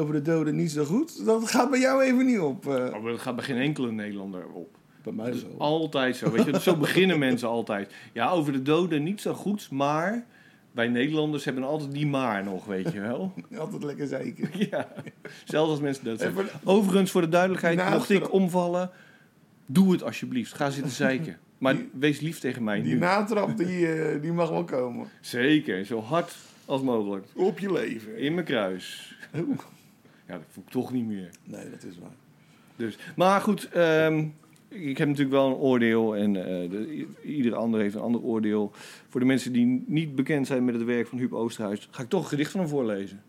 over de doden niet zo goed... dat gaat bij jou even niet op. eh. Oh, maar dat gaat bij geen enkele Nederlander op. bij mij Dat zo. is altijd zo. Weet je? Zo beginnen mensen altijd. Ja, over de doden niet zo goed, maar wij Nederlanders hebben altijd die maar nog, weet je wel. Altijd lekker zeker. Ja, zelfs als mensen dood zijn. Even- Overigens, voor de duidelijkheid, Naast- mocht ik omvallen, doe het alsjeblieft. Ga zitten zeiken. Maar Die- wees lief tegen mij Die nu. natrap, die, eh, die mag wel komen. Zeker, zo hard als mogelijk. Op je leven. Oh, In mijn kruis. Ja, dat voel ik toch niet meer. Nee, dat is waar. Dus. Maar goed, ehm, ik heb natuurlijk wel een oordeel. En eh, de- i- iedere ander heeft een ander oordeel. Voor de mensen die niet bekend zijn met het werk van Huub Oosterhuis... ga ik toch een gedicht van hem voorlezen.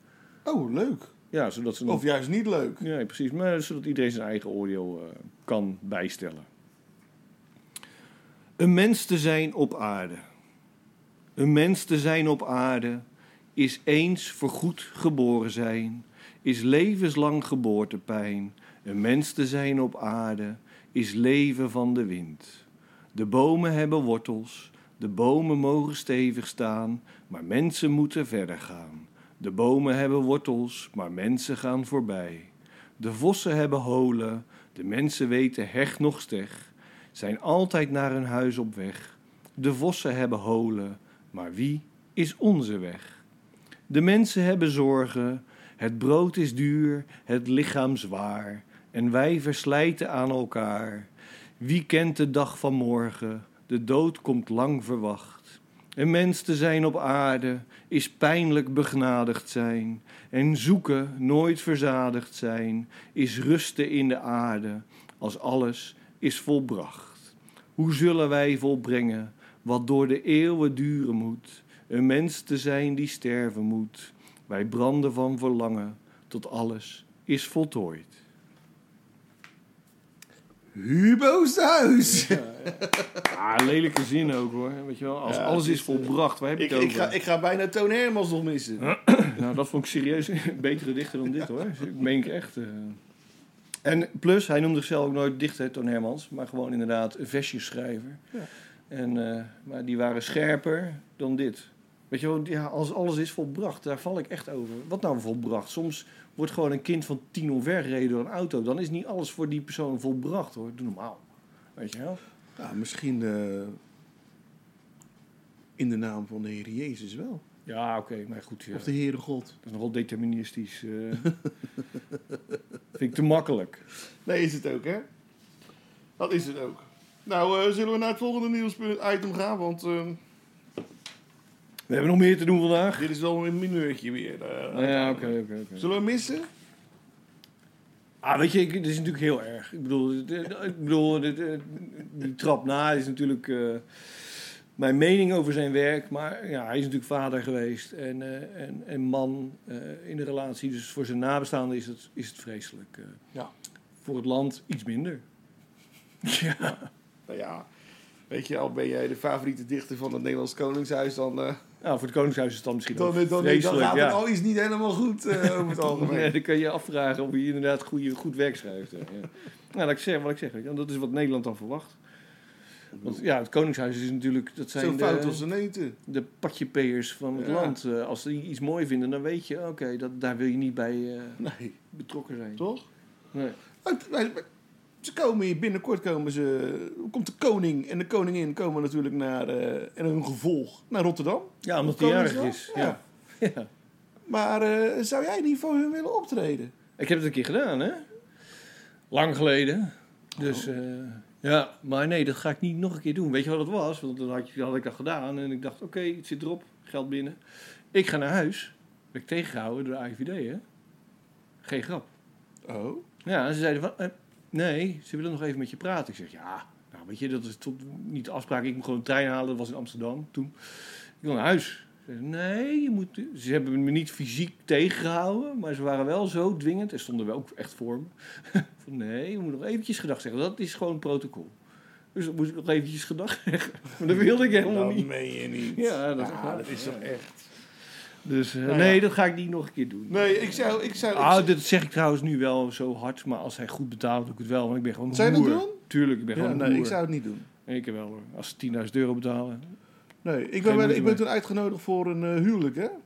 Oh, leuk. Ja, zodat ze... Of juist niet leuk. Ja, precies. Maar zodat iedereen zijn eigen oordeel eh, kan bijstellen. Een mens te zijn op aarde. Een mens te zijn op aarde is eens voorgoed geboren zijn, is levenslang geboortepijn. Een mens te zijn op aarde is leven van de wind. De bomen hebben wortels, de bomen mogen stevig staan, maar mensen moeten verder gaan. De bomen hebben wortels, maar mensen gaan voorbij. De vossen hebben holen, de mensen weten heg nog steg, zijn altijd naar hun huis op weg. De vossen hebben holen, maar wie is onze weg? De mensen hebben zorgen, het brood is duur, het lichaam zwaar, en wij verslijten aan elkaar. Wie kent de dag van morgen? De dood komt lang verwacht. Een mens te zijn op aarde is pijnlijk begnadigd zijn. En zoeken, nooit verzadigd zijn, is rusten in de aarde als alles is volbracht. Hoe zullen wij volbrengen wat door de eeuwen duren moet? Een mens te zijn die sterven moet. Wij branden van verlangen tot alles is voltooid. Hubo's thuis! Ah, lelijke zin ook hoor. Weet je wel, als Ja, alles het is, eh, is volbracht, waar heb je Ik, het over? ik, ga, ik ga bijna Toon Hermans nog missen. Nou, dat vond ik serieus een betere dichter dan dit hoor. Ik meen ik echt. eh. En plus, hij noemde zichzelf ook nooit dichter, Toon Hermans, maar gewoon inderdaad een versjeschrijver. En, eh, maar die waren scherper dan dit. Weet je wel, ja, als alles is volbracht, daar val ik echt over. Wat nou volbracht? Soms wordt gewoon een kind van tien omvergereden door een auto. Dan is niet alles voor die persoon volbracht hoor. Doe normaal. Weet je wel? Ja, misschien eh, in de naam van de Heer Jezus wel. Ja, oké, maar goed. ja. Of de Heere God. Dat is nogal deterministisch. eh. Vind ik te makkelijk. Nee, is het ook, hè? Dat is het ook. Nou, eh, zullen we naar het volgende nieuwsitem gaan? Want eh, We hebben nog meer te doen vandaag. dit is wel een mineurtje weer. eh. Ja, oké, oké, oké. Zullen we missen? Ah, weet je, ik- dit is natuurlijk heel erg. Ik bedoel, dit- dit- ik bedoel dit- dit- die trap na is natuurlijk eh, mijn mening over zijn werk. Maar ja, hij is natuurlijk vader geweest en, eh, en, en man eh, in de relatie. Dus voor zijn nabestaanden is het, is het vreselijk. eh. Ja. Voor het land iets minder. Ja. Nou ja, weet je, al ben jij de favoriete dichter van het Nederlands Koningshuis, dan, eh, Nou, voor het Koningshuis is het dan misschien dan, ook dan, dan vreselijk. gaat ja. het al iets niet helemaal goed eh, over het algemeen. Ja, dan kan je je afvragen of je inderdaad goede, goed werk schrijft. hè. Ja. Nou, dat ik zeg, wat ik zeg, weet je wel, dat is wat Nederland dan verwacht. Want ja, het Koningshuis is natuurlijk, dat Zo zijn eh, fout als de, een eten. de patjepeers van het Ja. land. Eh, Als die iets mooi vinden, dan weet je, oké, dat- daar wil je niet bij eh, Nee, betrokken zijn. toch? Nee. Maar- maar- Nou, maar Ze komen hier binnenkort, komen ze, komt de koning en de koningin komen natuurlijk naar, eh, en hun gevolg naar Rotterdam. Ja, omdat hij Koningsdag? jarig is. Ja. Ja. Ja. Maar eh, zou jij niet voor hun willen optreden? Ik heb het een keer gedaan, hè? Lang geleden. Dus eh, ja, maar nee, dat ga ik niet nog een keer doen. Weet je wat het was? Want dan had, je- had ik dat gedaan en ik dacht, oké, het zit erop, geld binnen. Ik ga naar huis. Werd ik tegengehouden door de AIVD, hè? Geen grap. Oh. Ja, en ze zeiden van, eh, nee, ze willen nog even met je praten. Ik zeg, ja, nou weet je, dat is tot, niet de afspraak. Ik moet gewoon een trein halen, dat was in Amsterdam toen. Ik wil naar huis. Ze zeiden, nee, je moet... Ze hebben me niet fysiek tegengehouden, maar ze waren wel zo dwingend. En stonden wel ook echt voor me. van, nee, je moet nog eventjes gedag zeggen. Dat is gewoon protocol. Dus dan moest ik nog eventjes gedag zeggen. Maar dat wilde ik helemaal Dat niet. Nou, meen je niet. Ja, dat, Ah, dat is toch echt. Dus eh, Nou ja. nee, dat ga ik niet nog een keer doen. Nee, ik zou. Ik zou ik Ah, dat zeg ik trouwens nu wel zo hard, maar als hij goed betaalt, doe ik het wel, want ik ben gewoon een Zou je dat hoer. doen? Tuurlijk, ik ben ja, gewoon een nee, ik hoer. zou het niet doen. Ik wel hoor. Als ze 10.000 euro betalen. Nee, ik ben, moeite wel- ik ben mee. toen uitgenodigd voor een eh, huwelijk, hè? 2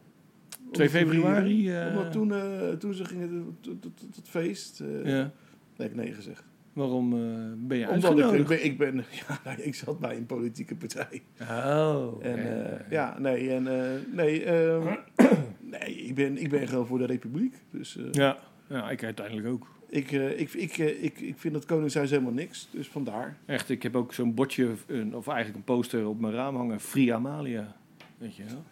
Om te vieren. februari. eh, Omdat toen, eh, toen ze gingen tot, tot, tot het feest. eh, ja. Nee, ik heb nee gezegd. Waarom eh, ben je Omdat ik, ik uitgenodigd? ben. Ik, ben ja, nee, ik zat bij een politieke partij. Oh. En ja. eh, ja, nee, en, eh, nee, ehm, nee ik, ben, ik ben gewoon voor de republiek. Dus eh, ja. ja, ik uiteindelijk ook. ik, eh, ik, ik, eh, ik, ik vind dat Koningshuis helemaal niks. Dus vandaar. Echt, ik heb ook zo'n bordje, een- of eigenlijk een poster op mijn raam hangen. Free Amalia. Weet je wel?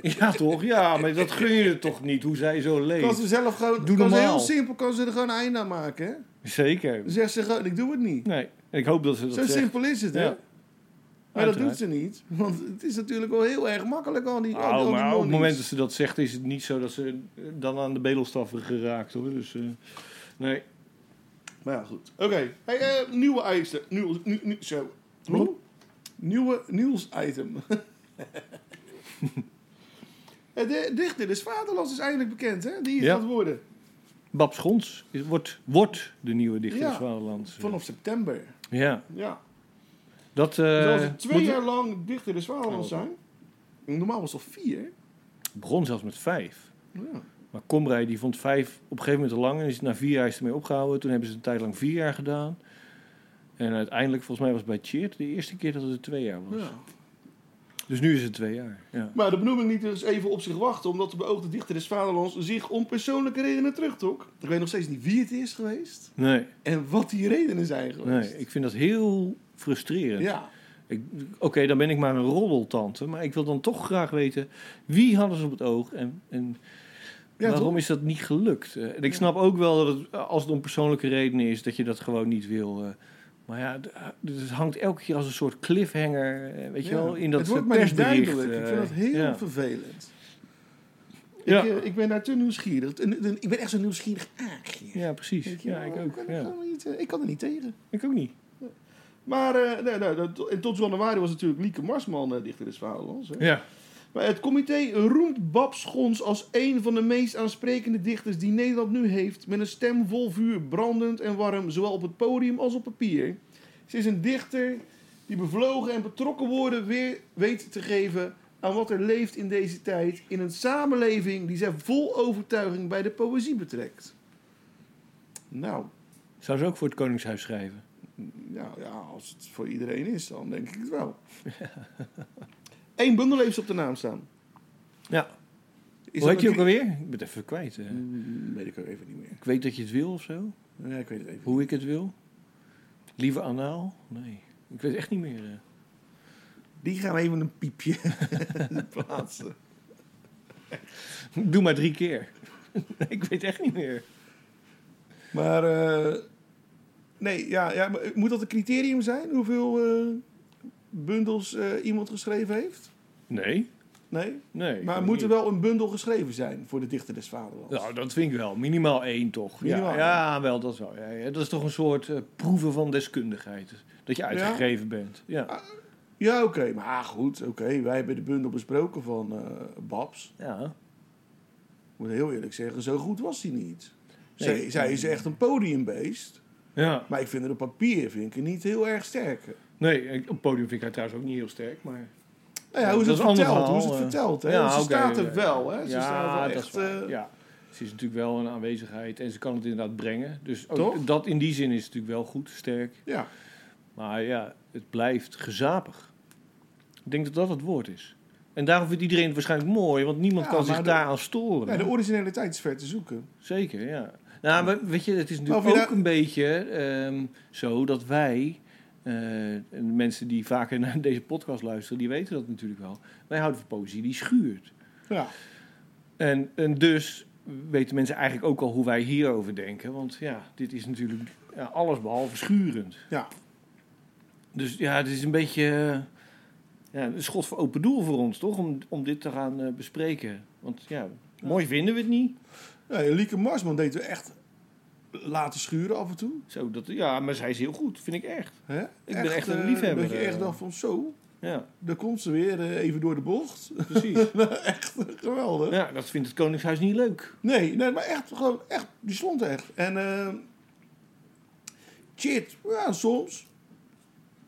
ja, toch? Ja, maar dat gun je er toch niet, hoe zij zo Kan ze leeft. zelf gewoon. Doe kan ze heel normaal. simpel, kan ze er gewoon een einde aan maken. Hè? Zeker. Dan zegt ze gewoon: ik doe het niet. Nee, en ik hoop dat ze dat Zo zegt. simpel is het, hè? Ja. Maar dat Uiteraard. doet ze niet. Want het is natuurlijk wel heel erg makkelijk al die. al die- al Oh, die maar op het nonnies. moment dat ze dat zegt, is het niet zo dat ze eh, dan aan de bedelstaf geraakt hoor. Dus eh, nee. Maar ja, goed. Oké. Hey, eh, nieuwe eisen. Nieuw, nieuw, nieuw- zo. Hoe? Nieuwe nieuws-item. de dichter des Vaderlands is eindelijk bekend, hè? Die het Ja. gaat worden. Bab Schons is- wordt, wordt de nieuwe dichter Ja, des Vaderlands. Vanaf september. Ja, Ja. dat... eh, Zal ze twee moet- jaar lang dichter des Vaderlands Oh. zijn? Normaal was het al vier. begon zelfs met vijf. Ja. Maar Comrij die vond vijf op een gegeven moment te lang en is na vier jaar is ermee opgehouden. Toen hebben ze een tijd lang vier jaar gedaan. En uiteindelijk, volgens mij was het bij Cheert de eerste keer dat het twee jaar was. Ja. Dus nu is het twee jaar. Ja. Maar de benoeming liet dus even op zich wachten, omdat de beoogde dichter des Vaderlands zich om persoonlijke redenen terugtrok. Ik weet nog steeds niet wie het is geweest Nee, en wat die redenen zijn geweest. nee, ik vind dat heel frustrerend. Ja, Ik- Oké, dan ben ik maar een roddeltante, maar ik wil dan toch graag weten wie hadden ze op het oog en, en ja waarom toch? is dat niet gelukt? Eh, en ik snap ook wel dat het, eh, als het om persoonlijke redenen is, dat je dat gewoon niet wil. eh. maar ja, d- het hangt elke keer als een soort cliffhanger, eh, weet je Ja. wel, in dat Het wordt eh, maar niet persbericht, duidelijk. Ik eh, vind dat heel ja. vervelend. Ja. Ik, eh, ik ben daar te nieuwsgierig. Een- een- Ik ben echt zo'n nieuwsgierig aagje. Ja, precies. Weet je Ja, wel, ik ook. kan er Ja. gewoon niet, eh, Ik kan er niet tegen. Ik ook niet. Maar eh, nee, nee, dat- en tot januari was natuurlijk Lieke Marsman eh, dichter des Vaderlands. hè. Ja. Maar het comité roemt Bab Schons als een van de meest aansprekende dichters die Nederland nu heeft. Met een stem vol vuur, brandend en warm, zowel op het podium als op papier. Ze is een dichter die bevlogen en betrokken woorden weer weet te geven aan wat er leeft in deze tijd. In een samenleving die zij vol overtuiging bij de poëzie betrekt. Nou, Zou ze ook voor het Koningshuis schrijven? nou ja, als het voor iedereen is, dan denk ik het wel. Eén bundel heeft ze op de naam staan. Ja. Hoe Is dat heet je een ook alweer? Ik ben het even kwijt. eh. Mm, Weet ik ook even niet meer. Ik weet dat je het wil of zo. Ja, ik weet het even. Hoe ik het wil? Liever anaal? Nee. Ik weet echt niet meer. eh. Die gaan we even een piepje plaatsen. eh. Doe maar drie keer. ik weet echt niet meer. Maar, eh, nee, ja, ja, maar moet dat een criterium zijn? Hoeveel eh, bundels eh, iemand geschreven heeft? Nee. Nee? Nee. ik Maar weet moet er niet. wel een bundel geschreven zijn voor de dichter des vaderlands? Nou, dat vind ik wel. Minimaal één toch? Minimaal ja, één. ja, wel, dat wel. Ja, ja, Dat is toch een soort eh, proeven van deskundigheid. Dat je uitgegeven bent. Ah. Ja. Ja, oké, maar ah, goed, oké. Wij hebben de bundel besproken van eh, Babs. ja. Ik moet heel eerlijk zeggen, zo goed was hij niet. Zij, Nee. zij is echt een podiumbeest. Ja. Maar ik vind haar op papier vind ik haar niet heel erg sterk. Nee, ik- op het podium vind ik haar trouwens ook niet heel sterk. Maar... Nou ja, hoe Dat is het is een ander verteld? Hoe is het verhaal, eh. verteld? Hè? Ja, ze oké, eh, staat er ja. wel, hè? Ze staat er dat echt... is waar. eh, ja. Ze is natuurlijk wel een aanwezigheid en ze kan het inderdaad brengen. Dus ook Toch? dat in die zin is het natuurlijk wel goed, sterk. ja. Maar ja, het blijft gezapig. Ik denk dat dat het woord is. En daarom vindt iedereen het waarschijnlijk mooi, want niemand Ja, kan maar zich de- daaraan storen. Nee, de originaliteit is ver te zoeken. Zeker, ja. Nou, maar weet je, het is natuurlijk Maar ook of je daar- een beetje ehm, zo dat wij, eh, en de mensen die vaker naar deze podcast luisteren, die weten dat natuurlijk wel. Wij houden van poëzie die schuurt. Ja. En, en dus weten mensen eigenlijk ook al hoe wij hierover denken. Want ja, dit is natuurlijk ja, alles behalve schurend. Ja. Dus ja, het is een beetje eh, ja, een schot voor open doel voor ons, toch? Om, om dit te gaan eh, bespreken. Want ja, mooi vinden we het niet. Nee, Lieke Marsman deed er echt laten schuren af en toe. Zo, dat, ja, maar zij is heel goed, vind ik echt. Hè? ben echt een eh, liefhebber, Dat je echt eh. dacht van zo, Ja, daar komt ze weer eh, even door de bocht. precies. echt geweldig. ja, dat vindt het Koningshuis niet leuk. Nee, nee, maar echt, gewoon echt, die stond echt. En eh shit, ja, soms.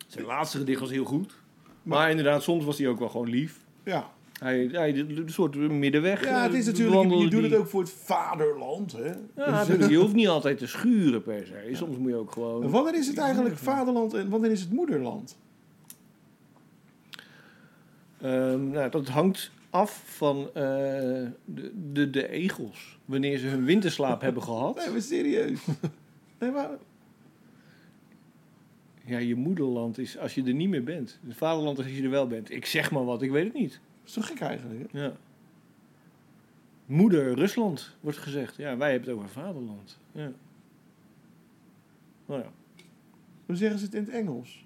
Zijn laatste gedicht was heel goed. Maar inderdaad, soms was hij ook wel gewoon lief. Ja, Hij, hij een soort middenweg. ja het eh, is natuurlijk, je, bewandelde je doet die. het ook voor het vaderland. Hè? Ja, Dus- dus je hoeft niet altijd te schuren per se. Soms moet je ook En gewoon... Wanneer is het eigenlijk vaderland en wanneer is het moederland? Ehm, nou, dat hangt af van eh, de, de, de egels. Wanneer ze hun winterslaap hebben Nee, gehad. maar serieus. Nee, maar, Ja, je moederland is als je er niet meer bent. Het vaderland is als je er wel bent. Ik zeg maar wat, ik weet het niet. is toch gek eigenlijk? Hè? Ja. Moeder Rusland wordt gezegd. Ja, wij hebben het over vaderland. Ja. Nou ja. Hoe zeggen ze het in het Engels?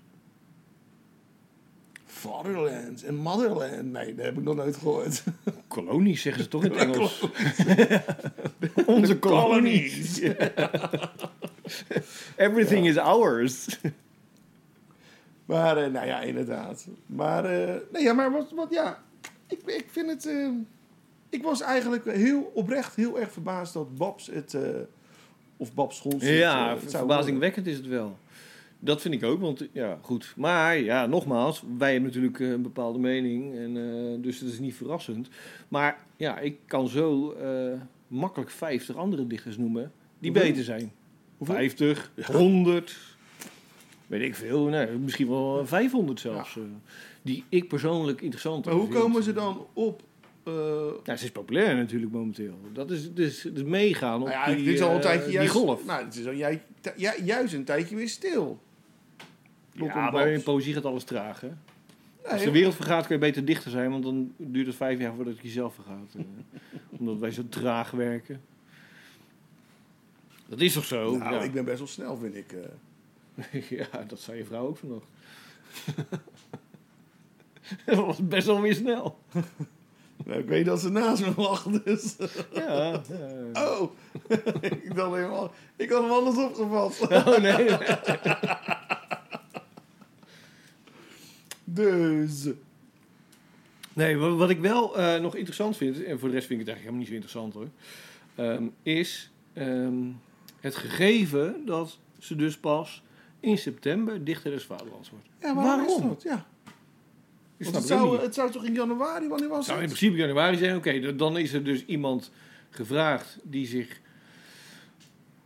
Fatherland en motherland. Nee, dat heb ik nog nooit gehoord. Kolonies zeggen ze toch in het Engels? Onze kolonies. Everything is ours. Maar eh, nou ja, inderdaad. Maar, eh, nee, ja, maar wat, wat ja, ik, ik vind het. eh, ik was eigenlijk heel oprecht heel erg verbaasd dat Babs het. eh, of Babs Schons. het, eh, Ja, het zou verbazingwekkend is het wel. Dat vind ik ook, want ja, goed. Maar ja, nogmaals, wij hebben natuurlijk eh, een bepaalde mening, en, eh, dus het is niet verrassend. Maar ja, ik kan zo eh, makkelijk 50 andere dichters noemen die Hoeveel? beter zijn. Hoeveel? 50, 100, weet ik veel, nee, misschien wel 500 zelfs. eh, die ik persoonlijk interessant worden. Maar hoe komen ze dan op. eh, Nou, ze is populair natuurlijk momenteel. Dat is, dus, dus meegaan op nou ja, die, dit is al een eh, tijdje die juist. golf. Nou, dit is al jij, ti- ja, juist een tijdje weer stil. Rondom Ja, maar Babs. in poëzie gaat alles traag, hè? Als de Nee, wereld vergaat, kun je beter dichter zijn, want dan duurt het vijf jaar voordat je zelf vergaat. eh, Omdat wij zo traag werken. Dat is toch zo? nou, ja. ik ben best wel snel, vind ik. eh. ja, dat zei je vrouw ook vanochtend. dat was best wel weer snel. Nou, ik weet dat ze naast me lag, dus... Ja. ja. Oh! ik, dacht helemaal, ik had hem anders opgevat. Oh nee. Dus... Nee, wa- wat ik wel eh, nog interessant vind, en voor de rest vind ik het eigenlijk helemaal niet zo interessant hoor, ehm, is ehm, het gegeven dat ze dus pas in september dichter des Vaderlands wordt. Ja, waarom is dat? Ja. Ik Want snap het, het ook zou, niet. het zou toch in januari, wanneer was Het zou in het? principe januari zijn, oké, d- dan is er dus iemand gevraagd die zich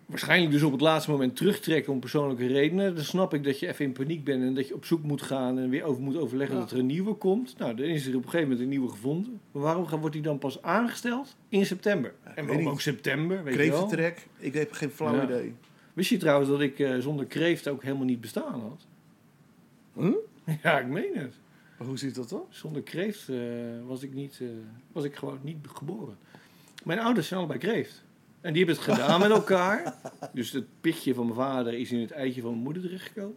waarschijnlijk dus op het laatste moment terugtrekt om persoonlijke redenen. Dan snap ik dat je even in paniek bent en dat je op zoek moet gaan en weer over moet overleggen Ja. dat er een nieuwe komt. Nou, dan is er op een gegeven moment een nieuwe gevonden. Maar waarom ga- wordt die dan pas aangesteld in september? en weet waarom niet. ook september, weet je wel? Kreeftentrek? Ik heb geen flauw Ja. idee. Wist je trouwens dat ik eh, zonder kreeft ook helemaal niet bestaan had? Huh? Ja, ik meen het. Maar hoe zit dat dan? Zonder kreeft eh, was, ik niet, eh, was ik gewoon niet geboren. Mijn ouders zijn allebei kreeft. En die hebben het gedaan met elkaar. Dus het pitje van mijn vader is in het eitje van mijn moeder terechtgekomen.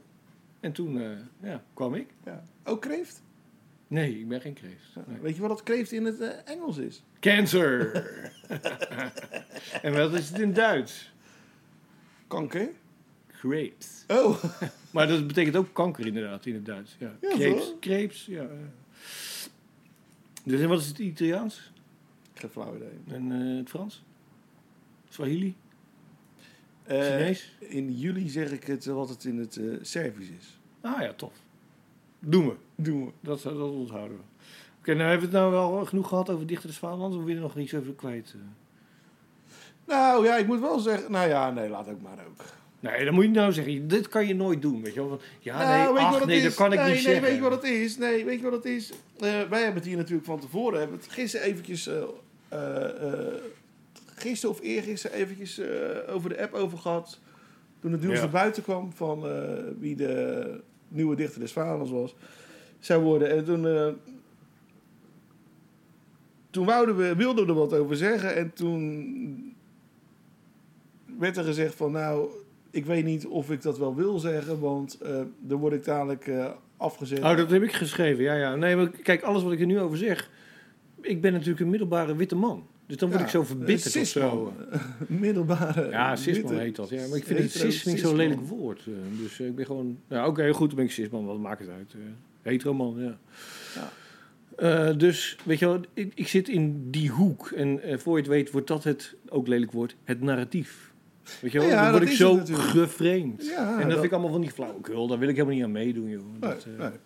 En toen eh, ja, kwam ik. Ja. Oh, kreeft? Nee, ik ben geen kreeft. Nee. Weet je wat dat kreeft in het eh, Engels is? Cancer! en wat is het in Duits? Kanker? Grapes. Oh! Maar dat betekent ook kanker inderdaad in het Duits. Ja. Ja, Grapes, toch? grapes, ja. Dus en wat is het Italiaans? geen flauw idee. En eh, het Frans? Swahili? Eh, Chinees? in juli zeg ik het eh, wat het in het eh Servisch is. Ah ja, tof. Doen we. Doen we. Dat, eh, dat onthouden we. Oké, nou hebben we het nou wel genoeg gehad over Dichter des Vaderlands. Of wil je er nog iets over kwijt? eh? Nou ja, ik moet wel zeggen... Nou ja, nee, laat ook maar ook. Nee, dan moet je nou zeggen. Dit kan je nooit doen, weet je wel. Want, Ja, nee, Nou, weet je wat ach, het nee, is? dat kan ik nee, niet nee, zeggen. Weet je wat het is? Nee, weet je wat het is? Eh, wij hebben het hier natuurlijk van tevoren. Hebben het gisteren eventjes... eh, eh, eh, gisteren of eergisteren eventjes eh, over de app over gehad. Toen het nieuws Ja. naar buiten kwam van eh, wie de nieuwe dichter des Vaderlands was. Zou worden. En toen... eh, toen wouden we, wilden we er wat over zeggen. En toen werd er gezegd van nou, ik weet niet of ik dat wel wil zeggen, want eh, dan word ik dadelijk eh, afgezet. Oh, dat heb ik geschreven, ja, ja. Nee, maar kijk, alles wat ik er nu over zeg. Ik ben natuurlijk een middelbare witte man. Dus dan word Ja, ik zo eh, verbitterd of cisman. zo. Middelbare. Ja, cisman witte- heet dat. Eh, Ja. Maar ik vind het Hetero cis vind ik zo'n cisman. lelijk woord. eh, Dus eh, ik ben gewoon... Ja, oké, goed, dan ben ik cisman. Wat maakt het uit? eh. hetero man, ja. Ja. Eh, dus, weet je wel, ik, ik zit in die hoek. En eh, voor je het weet wordt dat het, ook lelijk woord, het narratief. Weet je wel, Ja, dan word dat ik is het zo natuurlijk. gevreemd. Ja, en dat, dat- vind ik allemaal van die flauwekul. Daar wil ik helemaal niet aan meedoen, joh. dat, eh, Nee, nee.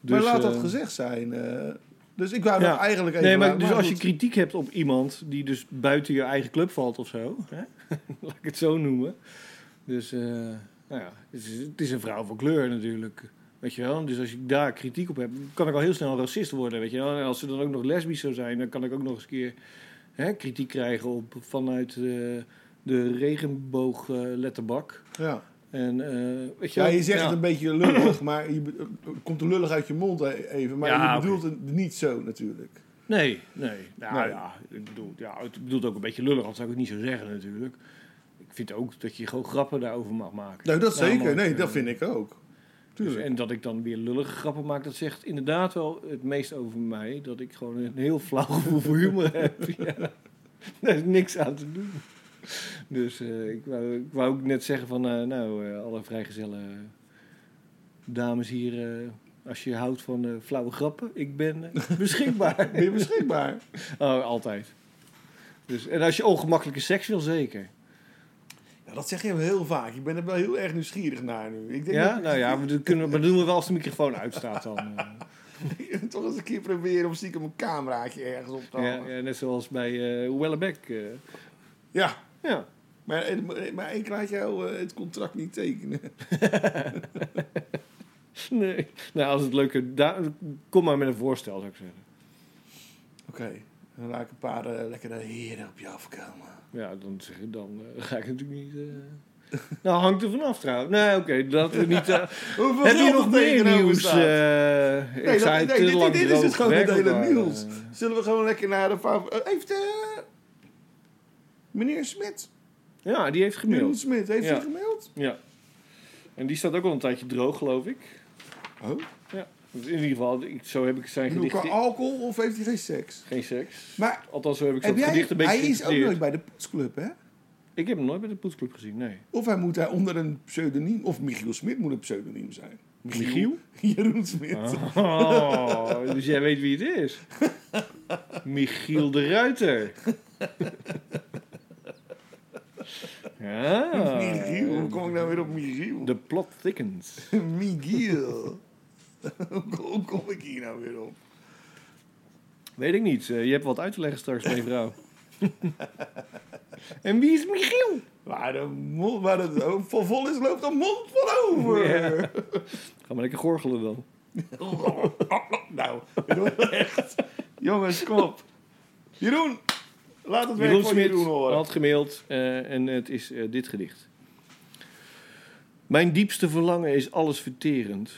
dus, maar laat dat eh, gezegd zijn. eh, dus ik wou Ja. dat eigenlijk even. Nee, maar laten, dus als je goed. kritiek hebt op iemand die dus buiten je eigen club valt of zo, hè? laat ik het zo noemen. Dus, eh, nou ja, het is, het is een vrouw van kleur natuurlijk. Weet je wel? Dus als ik daar kritiek op heb, kan ik al heel snel een racist worden. Weet je wel? En als ze dan ook nog lesbisch zou zijn, dan kan ik ook nog eens een keer hè, kritiek krijgen op, vanuit eh, de regenboogletterbak. Ja. en, eh, weet je, Ja, wel? je zegt Ja. het een beetje lullig, maar je, be- eh, komt de lullig uit je mond e- even. Maar Ja, je bedoelt het niet zo natuurlijk. Nee, nee. Nou Nee. ja, ik bedoel, ja, het bedoelt ook een beetje lullig, anders zou ik het niet zo zeggen natuurlijk. Ik vind ook dat je gewoon grappen daarover mag maken. Nou, dat zeker. Namelijk, Nee, eh, dat vind ik ook. dus- Tuurlijk. en dat ik dan weer lullige grappen maak, dat zegt inderdaad wel het meest over mij. Dat ik gewoon een heel flauw gevoel voor humor heb. Ja. Daar is niks aan te doen. Dus eh, ik, wou, ik wou ook net zeggen van, eh, nou, eh, alle vrijgezellen dames hier, eh, als je houdt van eh, flauwe grappen, ik ben eh, beschikbaar. Ben je beschikbaar? Oh, altijd. Dus, en als je ongemakkelijke seks wil, zeker. Ja, dat zeg je heel vaak. Ik ben er wel heel erg nieuwsgierig naar nu. Ik denk Ja, dat- nou ja, maar dat, kunnen we, maar dat doen we wel als de microfoon uitstaat dan. eh. Toch eens een keer proberen om stiekem een cameraatje ergens op te Ja, hangen. Ja, ja, net zoals bij eh Wellebeck. eh. ja. maar, maar ik laat jou eh, het contract niet tekenen. Nee. Nou, als het leuke... Da- kom maar met een voorstel, zou ik zeggen. Oké, dan laat ik een paar eh, lekkere heren op je afkomen. Ja, dan, zeg ik- dan eh, ga ik natuurlijk niet... eh. Nou, hangt er vanaf trouwens. Nee, oké, dat we niet... eh, Hoeveel Heb je geld nog er meer tegenover nieuws? staat? eh, ik dat- zei nee, te dit- lang dit is het droog gewoon het weg, hele maar, nieuws. eh, Zullen we gewoon lekker naar de... fav- eh, Heeft eh, meneer Smit, ja, die heeft Jeroen gemaild. Smit, heeft Ja. hij gemaild? Ja. En die staat ook al een tijdje droog, geloof ik. Oh? Dus in ieder geval, ik, zo heb ik zijn Ik bedoel, qua gedichten... alcohol of heeft hij geen seks? Geen seks. Maar Althans, zo heb ik heb zo'n jij, gedicht een beetje hij is ook geïnterpreteerd. nooit bij de poetsclub, hè? Ik heb hem nooit bij de poetsclub gezien, nee. Of hij moet daar onder een pseudoniem... Of Michiel Smit moet een pseudoniem zijn. Michiel? Jeroen Smit. Oh, dus jij weet wie het is. Michiel de Ruiter. Ja. Michiel, hoe kom ik nou weer op Michiel? The plot thickens. Michiel. hoe kom ik hier nou weer op? Weet ik niet. Eh, Je hebt wat uit te leggen straks, mijn vrouw. en wie is Michiel? Maar de mond, waar het hoofd vol vol is, loopt de mond vol over. Ja. Ga maar lekker gorgelen dan. Nou, Jeroen, echt. Jongens, kom op. Jeroen, laat het Jeroen werk van Smit Oh, Jeroen horen. had gemaild eh, en het is eh, dit gedicht. Mijn diepste verlangen is alles verterend,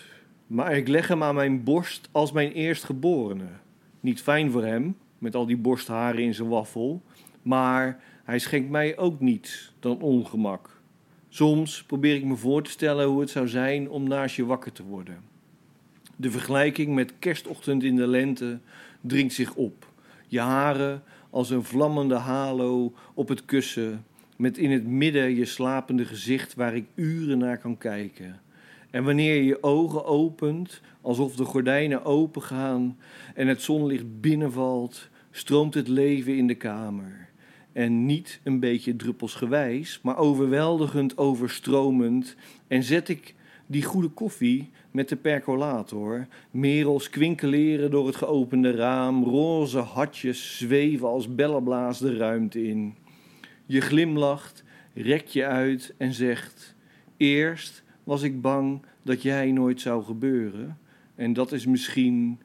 maar ik leg hem aan mijn borst als mijn eerstgeborene. Niet fijn voor hem, met al die borstharen in zijn waffel, maar hij schenkt mij ook niets dan ongemak. Soms probeer ik me voor te stellen hoe het zou zijn om naast je wakker te worden. De vergelijking met kerstochtend in de lente dringt zich op. Je haren als een vlammende halo op het kussen, met in het midden je slapende gezicht waar ik uren naar kan kijken. En wanneer je je ogen opent, alsof de gordijnen opengaan en het zonlicht binnenvalt, stroomt het leven in de kamer. En niet een beetje druppelsgewijs, maar overweldigend overstromend. En zet ik die goede koffie met de percolator. Merels kwinkeleren door het geopende raam. Roze hatjes zweven als bellenblaas de ruimte in. Je glimlacht, rek je uit en zegt: Eerst was ik bang dat jij nooit zou gebeuren. En dat is misschien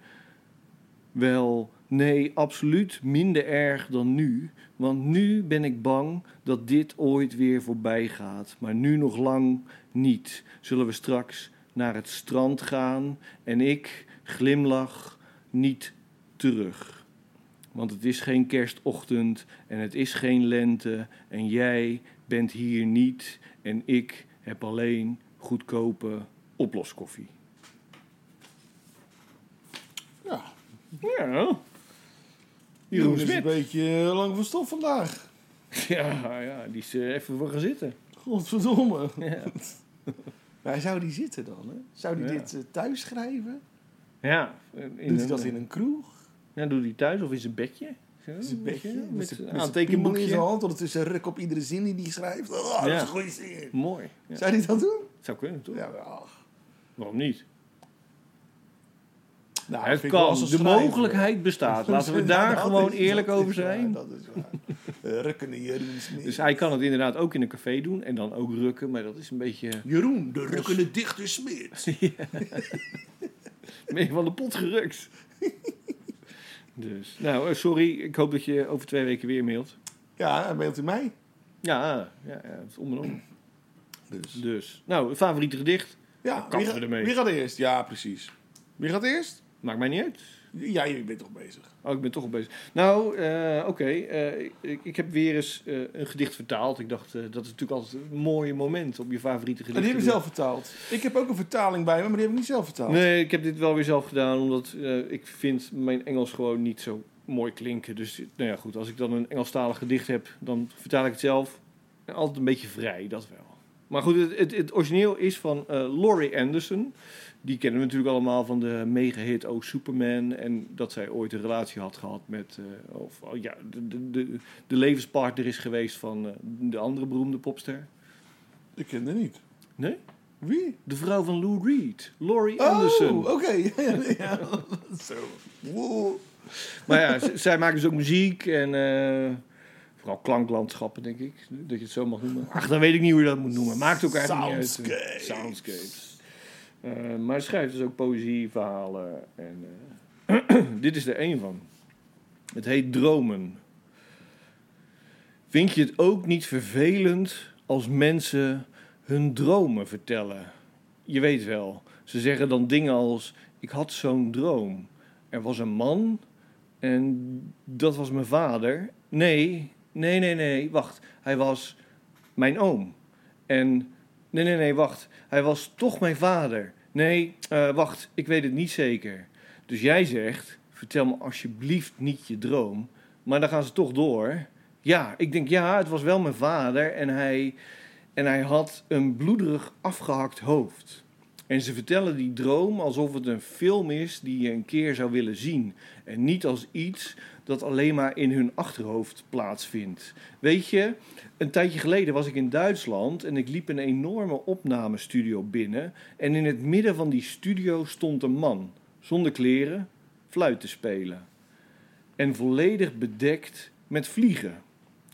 wel, nee, absoluut minder erg dan nu. Want nu ben ik bang dat dit ooit weer voorbij gaat. Maar nu nog lang niet. Zullen we straks naar het strand gaan en ik glimlach niet terug. Want het is geen kerstochtend en het is geen lente en jij bent hier niet en ik heb alleen goedkope oploskoffie. Ja. Ja. Jeroen Jeroen is een Smit. beetje eh, lang van stof vandaag. Ja, ja, die is eh, even voor gaan zitten. Godverdomme. Ja. Waar zou die zitten dan? Hè? Zou die Ja. dit eh, thuis schrijven? Ja. In Doet hij dat in een kroeg? Ja, doet hij thuis of in zijn bedje? Met zijn bedje? Met Met zijn een met zijn piemel in zijn aantekenboekje. hand. Want het is een ruk op iedere zin die hij schrijft. Oh, dat is Ja. een goede zin. Mooi. Ja. Zou hij dat doen? Zou kunnen, toch? Ja, wel. Waarom niet? Nou, het vind ik wel kan. als De een schrijver. Nou, mogelijkheid bestaat. Laten we Ja, daar dat gewoon is- eerlijk dat over is waar, zijn. dat is waar. Eh, Rukkende Jeroen Smit. Dus hij kan het inderdaad ook in een café doen en dan ook rukken, maar dat is een beetje Jeroen, de rukkende dichter Smit. ben je van de pot gerukt. Dus, nou, eh, sorry. Ik hoop dat je over twee weken weer mailt. Ja, hij mailt u mij. Ja, ja, ja het is om en om. Dus. Dus, nou, favoriete gedicht. Ja, kappen wie, we ga- ermee. wie gaat eerst? Ja, precies. Wie gaat eerst? Maakt mij niet uit. Ja, je bent toch bezig. Oh, ik ben toch al bezig. Nou, eh, oké. eh, ik, ik heb weer eens eh, een gedicht vertaald. Ik dacht, eh, dat is natuurlijk altijd een mooi moment om je favoriete En gedicht die te heb ik doen. zelf vertaald. Ik heb ook een vertaling bij me, maar die heb ik niet zelf vertaald. Nee, ik heb dit wel weer zelf gedaan, omdat eh, ik vind mijn Engels gewoon niet zo mooi klinken. Dus, nou ja, goed. Als ik dan een Engelstalig gedicht heb, dan vertaal ik het zelf. En altijd een beetje vrij, dat wel. Maar goed, het, het, het origineel is van eh, Laurie Anderson. Die kennen we natuurlijk allemaal van de mega-hit Oh Superman. En dat zij ooit een relatie had gehad met... eh, of oh ja, de, de, de, de levenspartner is geweest van eh, de andere beroemde popster. Ik ken dat niet. Nee? Wie? De vrouw van Lou Reed. Laurie Oh, Anderson. oké. Ja, ja, ja. Zo. Wow. Maar ja, z- zij maken dus ook muziek en eh, vooral klanklandschappen, denk ik. Dat je het zo mag noemen. Ach, dan weet ik niet hoe je dat moet noemen. Maakt ook eigenlijk niet uit. eh, Soundscapes. Soundscapes. Eh, maar ze schrijft dus ook poëzie, verhalen. En, eh, dit is er één van. Het heet Dromen. Vind je het ook niet vervelend als mensen hun dromen vertellen? Je weet wel, ze zeggen dan dingen als: Ik had zo'n droom. Er was een man en dat was mijn vader. Nee, nee, nee, nee, wacht. Hij was mijn oom. En nee, nee, nee, wacht. Hij was toch mijn vader. Nee, eh, wacht, ik weet het niet zeker. Dus jij zegt: vertel me alsjeblieft niet je droom. Maar dan gaan ze toch door. Ja, ik denk ja, het was wel mijn vader en hij, en hij had een bloederig afgehakt hoofd. En ze vertellen die droom alsof het een film is die je een keer zou willen zien. En niet als iets dat alleen maar in hun achterhoofd plaatsvindt. Weet je, een tijdje geleden was ik in Duitsland en ik liep een enorme opnamestudio binnen. En in het midden van die studio stond een man, zonder kleren, fluit te spelen. En volledig bedekt met vliegen.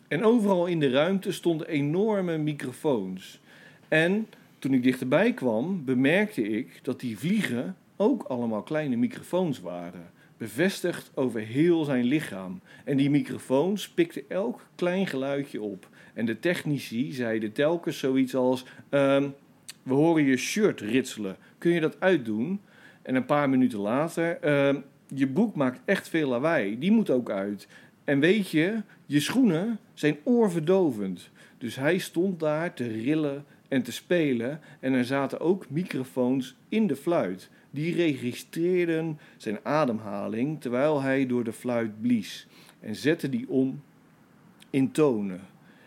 En overal in de ruimte stonden enorme microfoons. En toen ik dichterbij kwam, bemerkte ik dat die vliegen ook allemaal kleine microfoons waren. Bevestigd over heel zijn lichaam. En die microfoons pikten elk klein geluidje op. En de technici zeiden telkens zoiets als: ehm, We horen je shirt ritselen. Kun je dat uitdoen? En een paar minuten later: ehm, Je broek maakt echt veel lawaai. Die moet ook uit. En weet je, je schoenen zijn oorverdovend. Dus hij stond daar te rillen en te spelen. En er zaten ook microfoons in de fluit. Die registreerden zijn ademhaling terwijl hij door de fluit blies. En zetten die om in tonen.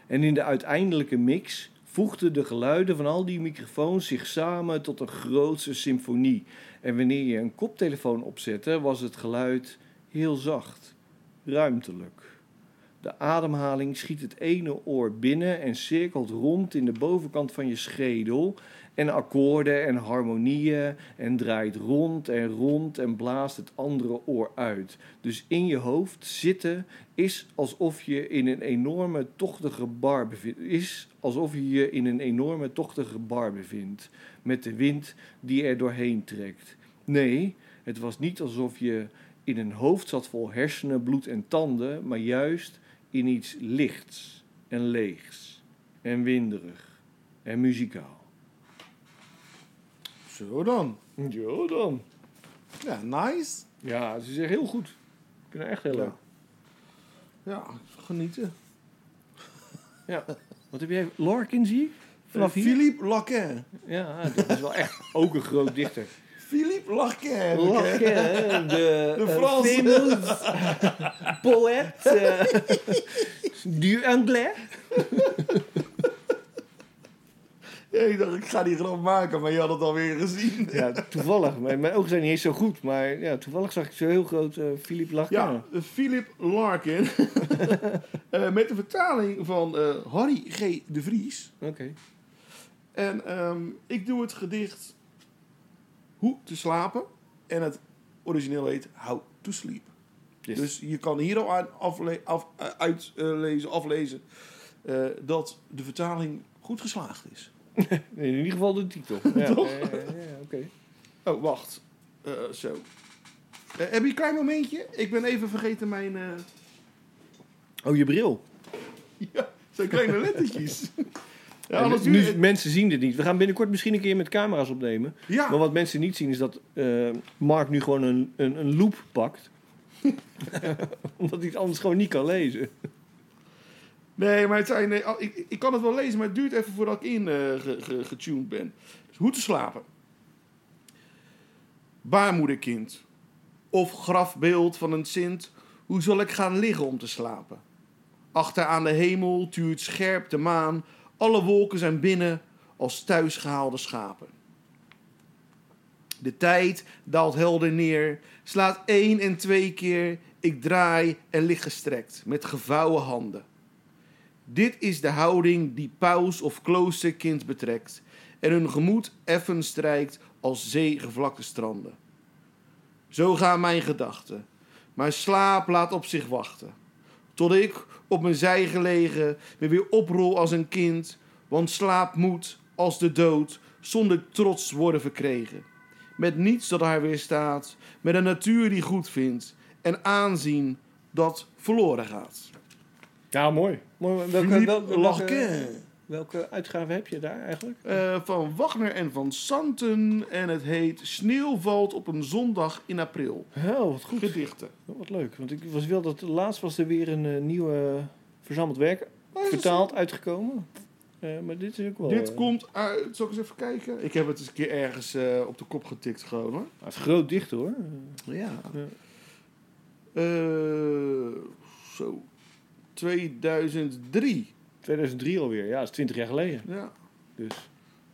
En in de uiteindelijke mix voegden de geluiden van al die microfoons zich samen tot een grootse symfonie. En wanneer je een koptelefoon opzette, was het geluid heel zacht, ruimtelijk. De ademhaling schiet het ene oor binnen en cirkelt rond in de bovenkant van je schedel. En akkoorden en harmonieën en draait rond en rond en blaast het andere oor uit. Dus in je hoofd zitten is alsof je in een enorme tochtige bar bevindt. Is alsof je je in een enorme tochtige bar bevindt. Met de wind die er doorheen trekt. Nee, het was niet alsof je in een hoofd zat vol hersenen, bloed en tanden, maar juist in iets lichts en leegs en winderig en muzikaal. Zo dan. Jo dan. Ja, nice. Ja, ze zeggen heel goed. Ik vind het echt heel Ja. leuk. Ja, genieten. Ja. Wat heb jij? Larkin zie ik? Vanaf hier? Eh, Philippe Lacan. Ja, dat is wel echt ook een groot dichter. Philippe Lacan. Larkin, hè, de, De eh, Franse. famous poëet. eh, du Anglais. Ja, ik dacht, ik ga die grap maken, maar je had het alweer gezien. Ja, toevallig. Mijn, mijn ogen zijn niet eens zo goed, maar ja, toevallig zag ik zo heel groot eh Philippe Larkin. Ja, Philip Larkin. Eh, met de vertaling van eh, Harry G. de Vries. Oké. En ehm, ik doe het gedicht Hoe te slapen. En het origineel heet How to Sleep. Yes. Dus je kan hier al aan afle- af, eh, uitlezen, aflezen eh, dat de vertaling goed geslaagd is. In ieder geval de titel. Ja, Toch? ja, ja, ja, oké. Oh, wacht. Eh, zo. Eh, heb je een klein momentje? Ik ben even vergeten mijn... eh, Oh, je bril. Ja, zijn kleine lettertjes. ja, En anders nu, duurt het- mensen zien dit niet. We gaan binnenkort misschien een keer met camera's opnemen. Ja, Maar wat mensen niet zien is dat eh, Mark nu gewoon een, een, een loop pakt. Omdat hij het anders gewoon niet kan lezen. nee, maar het zijn, nee, al- ik, ik kan het wel lezen, maar het duurt even voordat ik in eh, ge- ge- getuned ben. Dus hoe te slapen. Baarmoederkind. Of grafbeeld van een sint. Hoe zal ik gaan liggen om te slapen? Achter aan de hemel tuurt scherp de maan. Alle wolken zijn binnen. als thuisgehaalde schapen. De tijd daalt helder neer, slaat één en twee keer. Ik draai en lig gestrekt met gevouwen handen. Dit is de houding die paus of kloosterkind betrekt en hun gemoed effen strijkt als zeegevlakte stranden. Zo gaan mijn gedachten, maar slaap laat op zich wachten. Tot ik, op mijn zij gelegen, me weer oprol als een kind, want slaap moet, als de dood, zonder trots worden verkregen. Met niets dat haar weerstaat, met een natuur die goed vindt en aanzien dat verloren gaat. Ja, mooi. mooi. Welke, Philippe welke, welke, Larquin. welke uitgave heb je daar eigenlijk? Eh, van Wagner en van Santen en het heet Sneeuw valt op een zondag in april. Oh, wat goed. Gedichten. Oh, Wat leuk. Want ik was wel dat laatst was er weer een eh, nieuwe verzameld werk is dat vertaald uitgekomen. Eh, maar dit is ook wel. Dus Dit eh, komt uit, zal ik eens even kijken? Ik heb het eens een keer ergens eh, op de kop getikt gewoon hoor. Hij is groot dicht hoor. Ja. Ja. Eh, zo. 2003. 2003 alweer. Ja, dat is 20 jaar geleden. Ja. Dus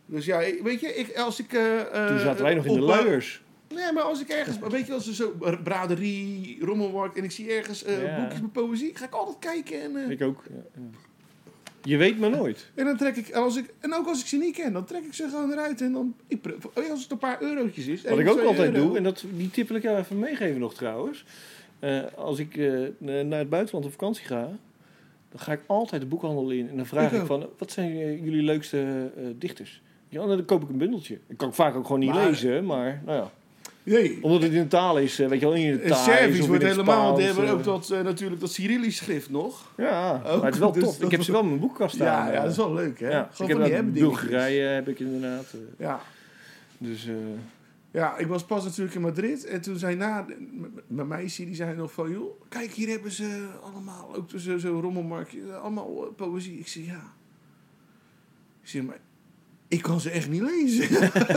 Dus ja, ik- weet je, ik, als ik... eh, eh, toen zaten wij nog in de op- luiers. Nee, maar als ik ergens... maar Weet je, als er zo braderie, rommelmarkt... en ik zie ergens eh, Ja. boekjes met poëzie... ga ik altijd kijken en... eh, Ik ook. Ja, ja. Je weet maar nooit. En dan trek ik, en als ik, en ook als ik ze niet ken, dan trek ik ze gewoon eruit. En dan, ik, pr- voor- als het een paar eurotjes is. Wat één, ik ook twee altijd euro. doe, en dat, die tip wil ik jou even meegeven nog trouwens. Eh, als ik eh, naar het buitenland op vakantie ga, dan ga ik altijd de boekhandel in. En dan vraag Ik ik, ook. van, wat zijn eh, jullie leukste eh, dichters? Ja, dan koop ik een bundeltje. Ik kan vaak ook gewoon niet Maar- lezen, maar nou ja. Nee. Omdat het in de taal is, eh, weet je wel, in de En taal. Servisch wordt helemaal, want die hebben ook dat, eh, natuurlijk dat Cyrillisch schrift nog. Ja, Ook, maar het is wel dus tof. Ik dat- heb ze wel in mijn boekkast staan. eh. ja, ja, dat is wel leuk, hè? Ja, ik Gewoon heb van die dat hebben dingetjes. Bulgarije heb ik inderdaad. eh, Ja. Dus eh, ja, ik was pas natuurlijk in Madrid. En toen zei na, m- m- mijn meisje, die zei nog van... joh, kijk, hier hebben ze allemaal, ook tussen zo'n rommelmarktje... eh, allemaal eh, poëzie. Ik zei, ja. Ik zeg, maar ik kan ze echt niet lezen.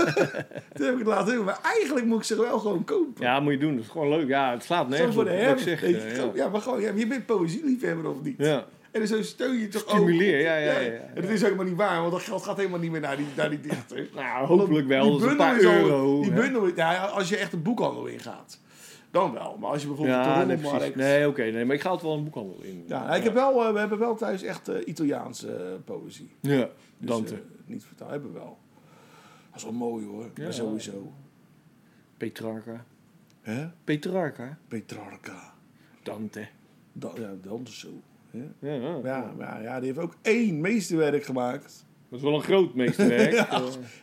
toen heb ik het laten doen. Maar eigenlijk moet ik ze wel gewoon kopen. ja, moet je doen. Dat is gewoon leuk. Ja, het slaat Zo nergens voor op. de wat ik herfst. zeg, weet je, eh, gewoon- ja. maar gewoon, ja, je bent poëzieliefhebber of niet. ja. ja. En zo steun je toch Stimuleer, ook. ja, ja, ja, ja. En dat is ook helemaal niet waar, want dat geld gaat helemaal niet meer naar die, naar die dichter. Nou, hopelijk wel. Die dat is een bundel paar is al- euro. Die hè. bundel, is- nou ja, als je echt een boekhandel ingaat, dan wel. Maar als je bijvoorbeeld op Ja, de nee, precies. rommelmarkt... Nee, oké. nee, maar ik ga altijd wel een boekhandel in. Ja, nou, ik heb wel, eh, we hebben wel thuis echt eh, Italiaanse eh, poëzie. Ja, Dus, Dante. eh, niet vertaald, hebben we wel. Dat is wel mooi hoor, Ja. maar sowieso. Petrarca. Hè? Petrarca. Petrarca. Dante. Dat, ja, dat is zo. Ja, ja. Ja, maar ja, die heeft ook één meesterwerk gemaakt. Dat is wel een groot meesterwerk. Ja. ja.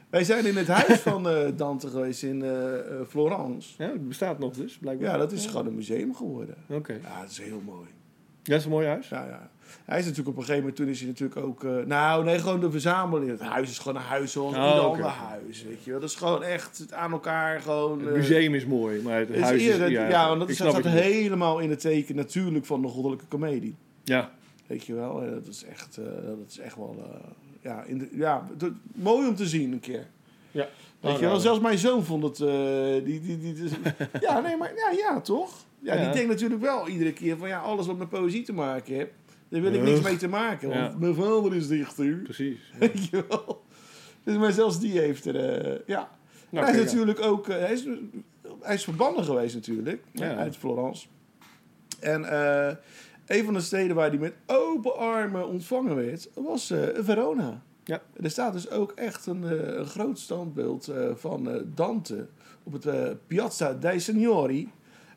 Wij zijn in het huis van eh, Dante geweest in eh, eh, Florence. ja, het bestaat nog dus, blijkbaar. Ja, dat is gewoon een museum geworden. Oké. Ja, Eh, dat is heel mooi. Ja, dat is een mooi huis. Ja, ja. Hij is natuurlijk op een gegeven moment, toen is hij natuurlijk ook... eh, nou, nee, gewoon de verzameling. Het huis is gewoon een huis zoals Oh, ieder oké. ander huis, weet je wel. Dat is gewoon echt het aan elkaar gewoon... Het eh, museum is mooi, maar het, het is huis is... eer- ja, want dat ik is- snap staat het niet. helemaal in het teken natuurlijk van de goddelijke komedie. Ja, Weet je wel, En dat is echt, eh, dat is echt wel... eh, ja, in de, ja, dat- mooi om te zien een keer. Ja. Nou, Weet je wel, zelfs mijn zoon vond het... eh, die, die, die, dus- ja, nee, maar ja, ja toch? Ja, Ja. die denkt natuurlijk wel iedere keer van... Ja, alles wat met poëzie te maken heeft... Daar wil ik Ugh. niks mee te maken, want Ja. mijn vader is dichter. Precies. Ja. Weet je wel? Dus, maar zelfs die heeft er... eh, ja. Nou, hij kijk is aan. natuurlijk ook... eh, hij, is, hij is verbannen geweest natuurlijk. Ja. Uit Florence. En eh, een van de steden waar hij met open armen ontvangen werd... was eh, Verona. Ja. Er staat dus ook echt een, eh, een groot standbeeld eh, van eh, Dante... op het eh, Piazza dei Signori.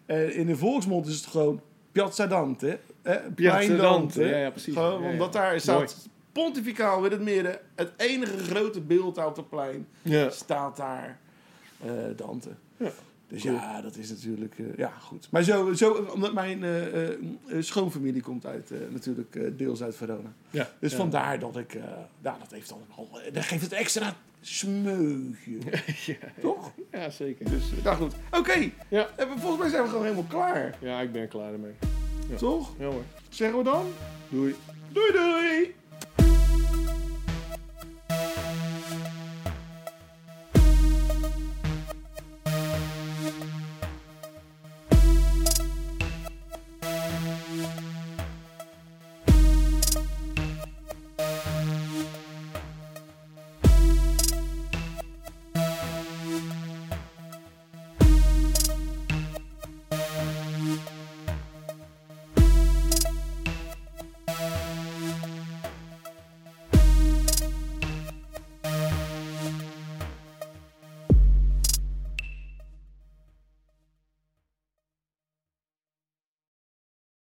Eh, in de volksmond is het gewoon Piazza Dante. Eh, Plein Dante, ja, ja, precies. Gewoon, Ja, ja. Omdat daar staat pontificaal in het midden... het enige grote beeld op het plein Ja. staat daar eh, Dante. Ja, Dus cool. ja, dat is natuurlijk... eh, ja, goed. Maar zo, zo omdat mijn eh, eh, schoonfamilie komt uit, eh, natuurlijk eh, deels uit Verona. Ja. Dus ja. vandaar dat ik... eh nou, dat heeft dan al... dat geeft het extra smeugje. Toch? Ja, zeker. Dus, eh, nou goed. Oké. Ja. En we- Volgens mij zijn we gewoon helemaal klaar. Ja, ik ben er klaar ermee. Toch? Ja hoor. Zeggen we dan? Doei. Doei doei!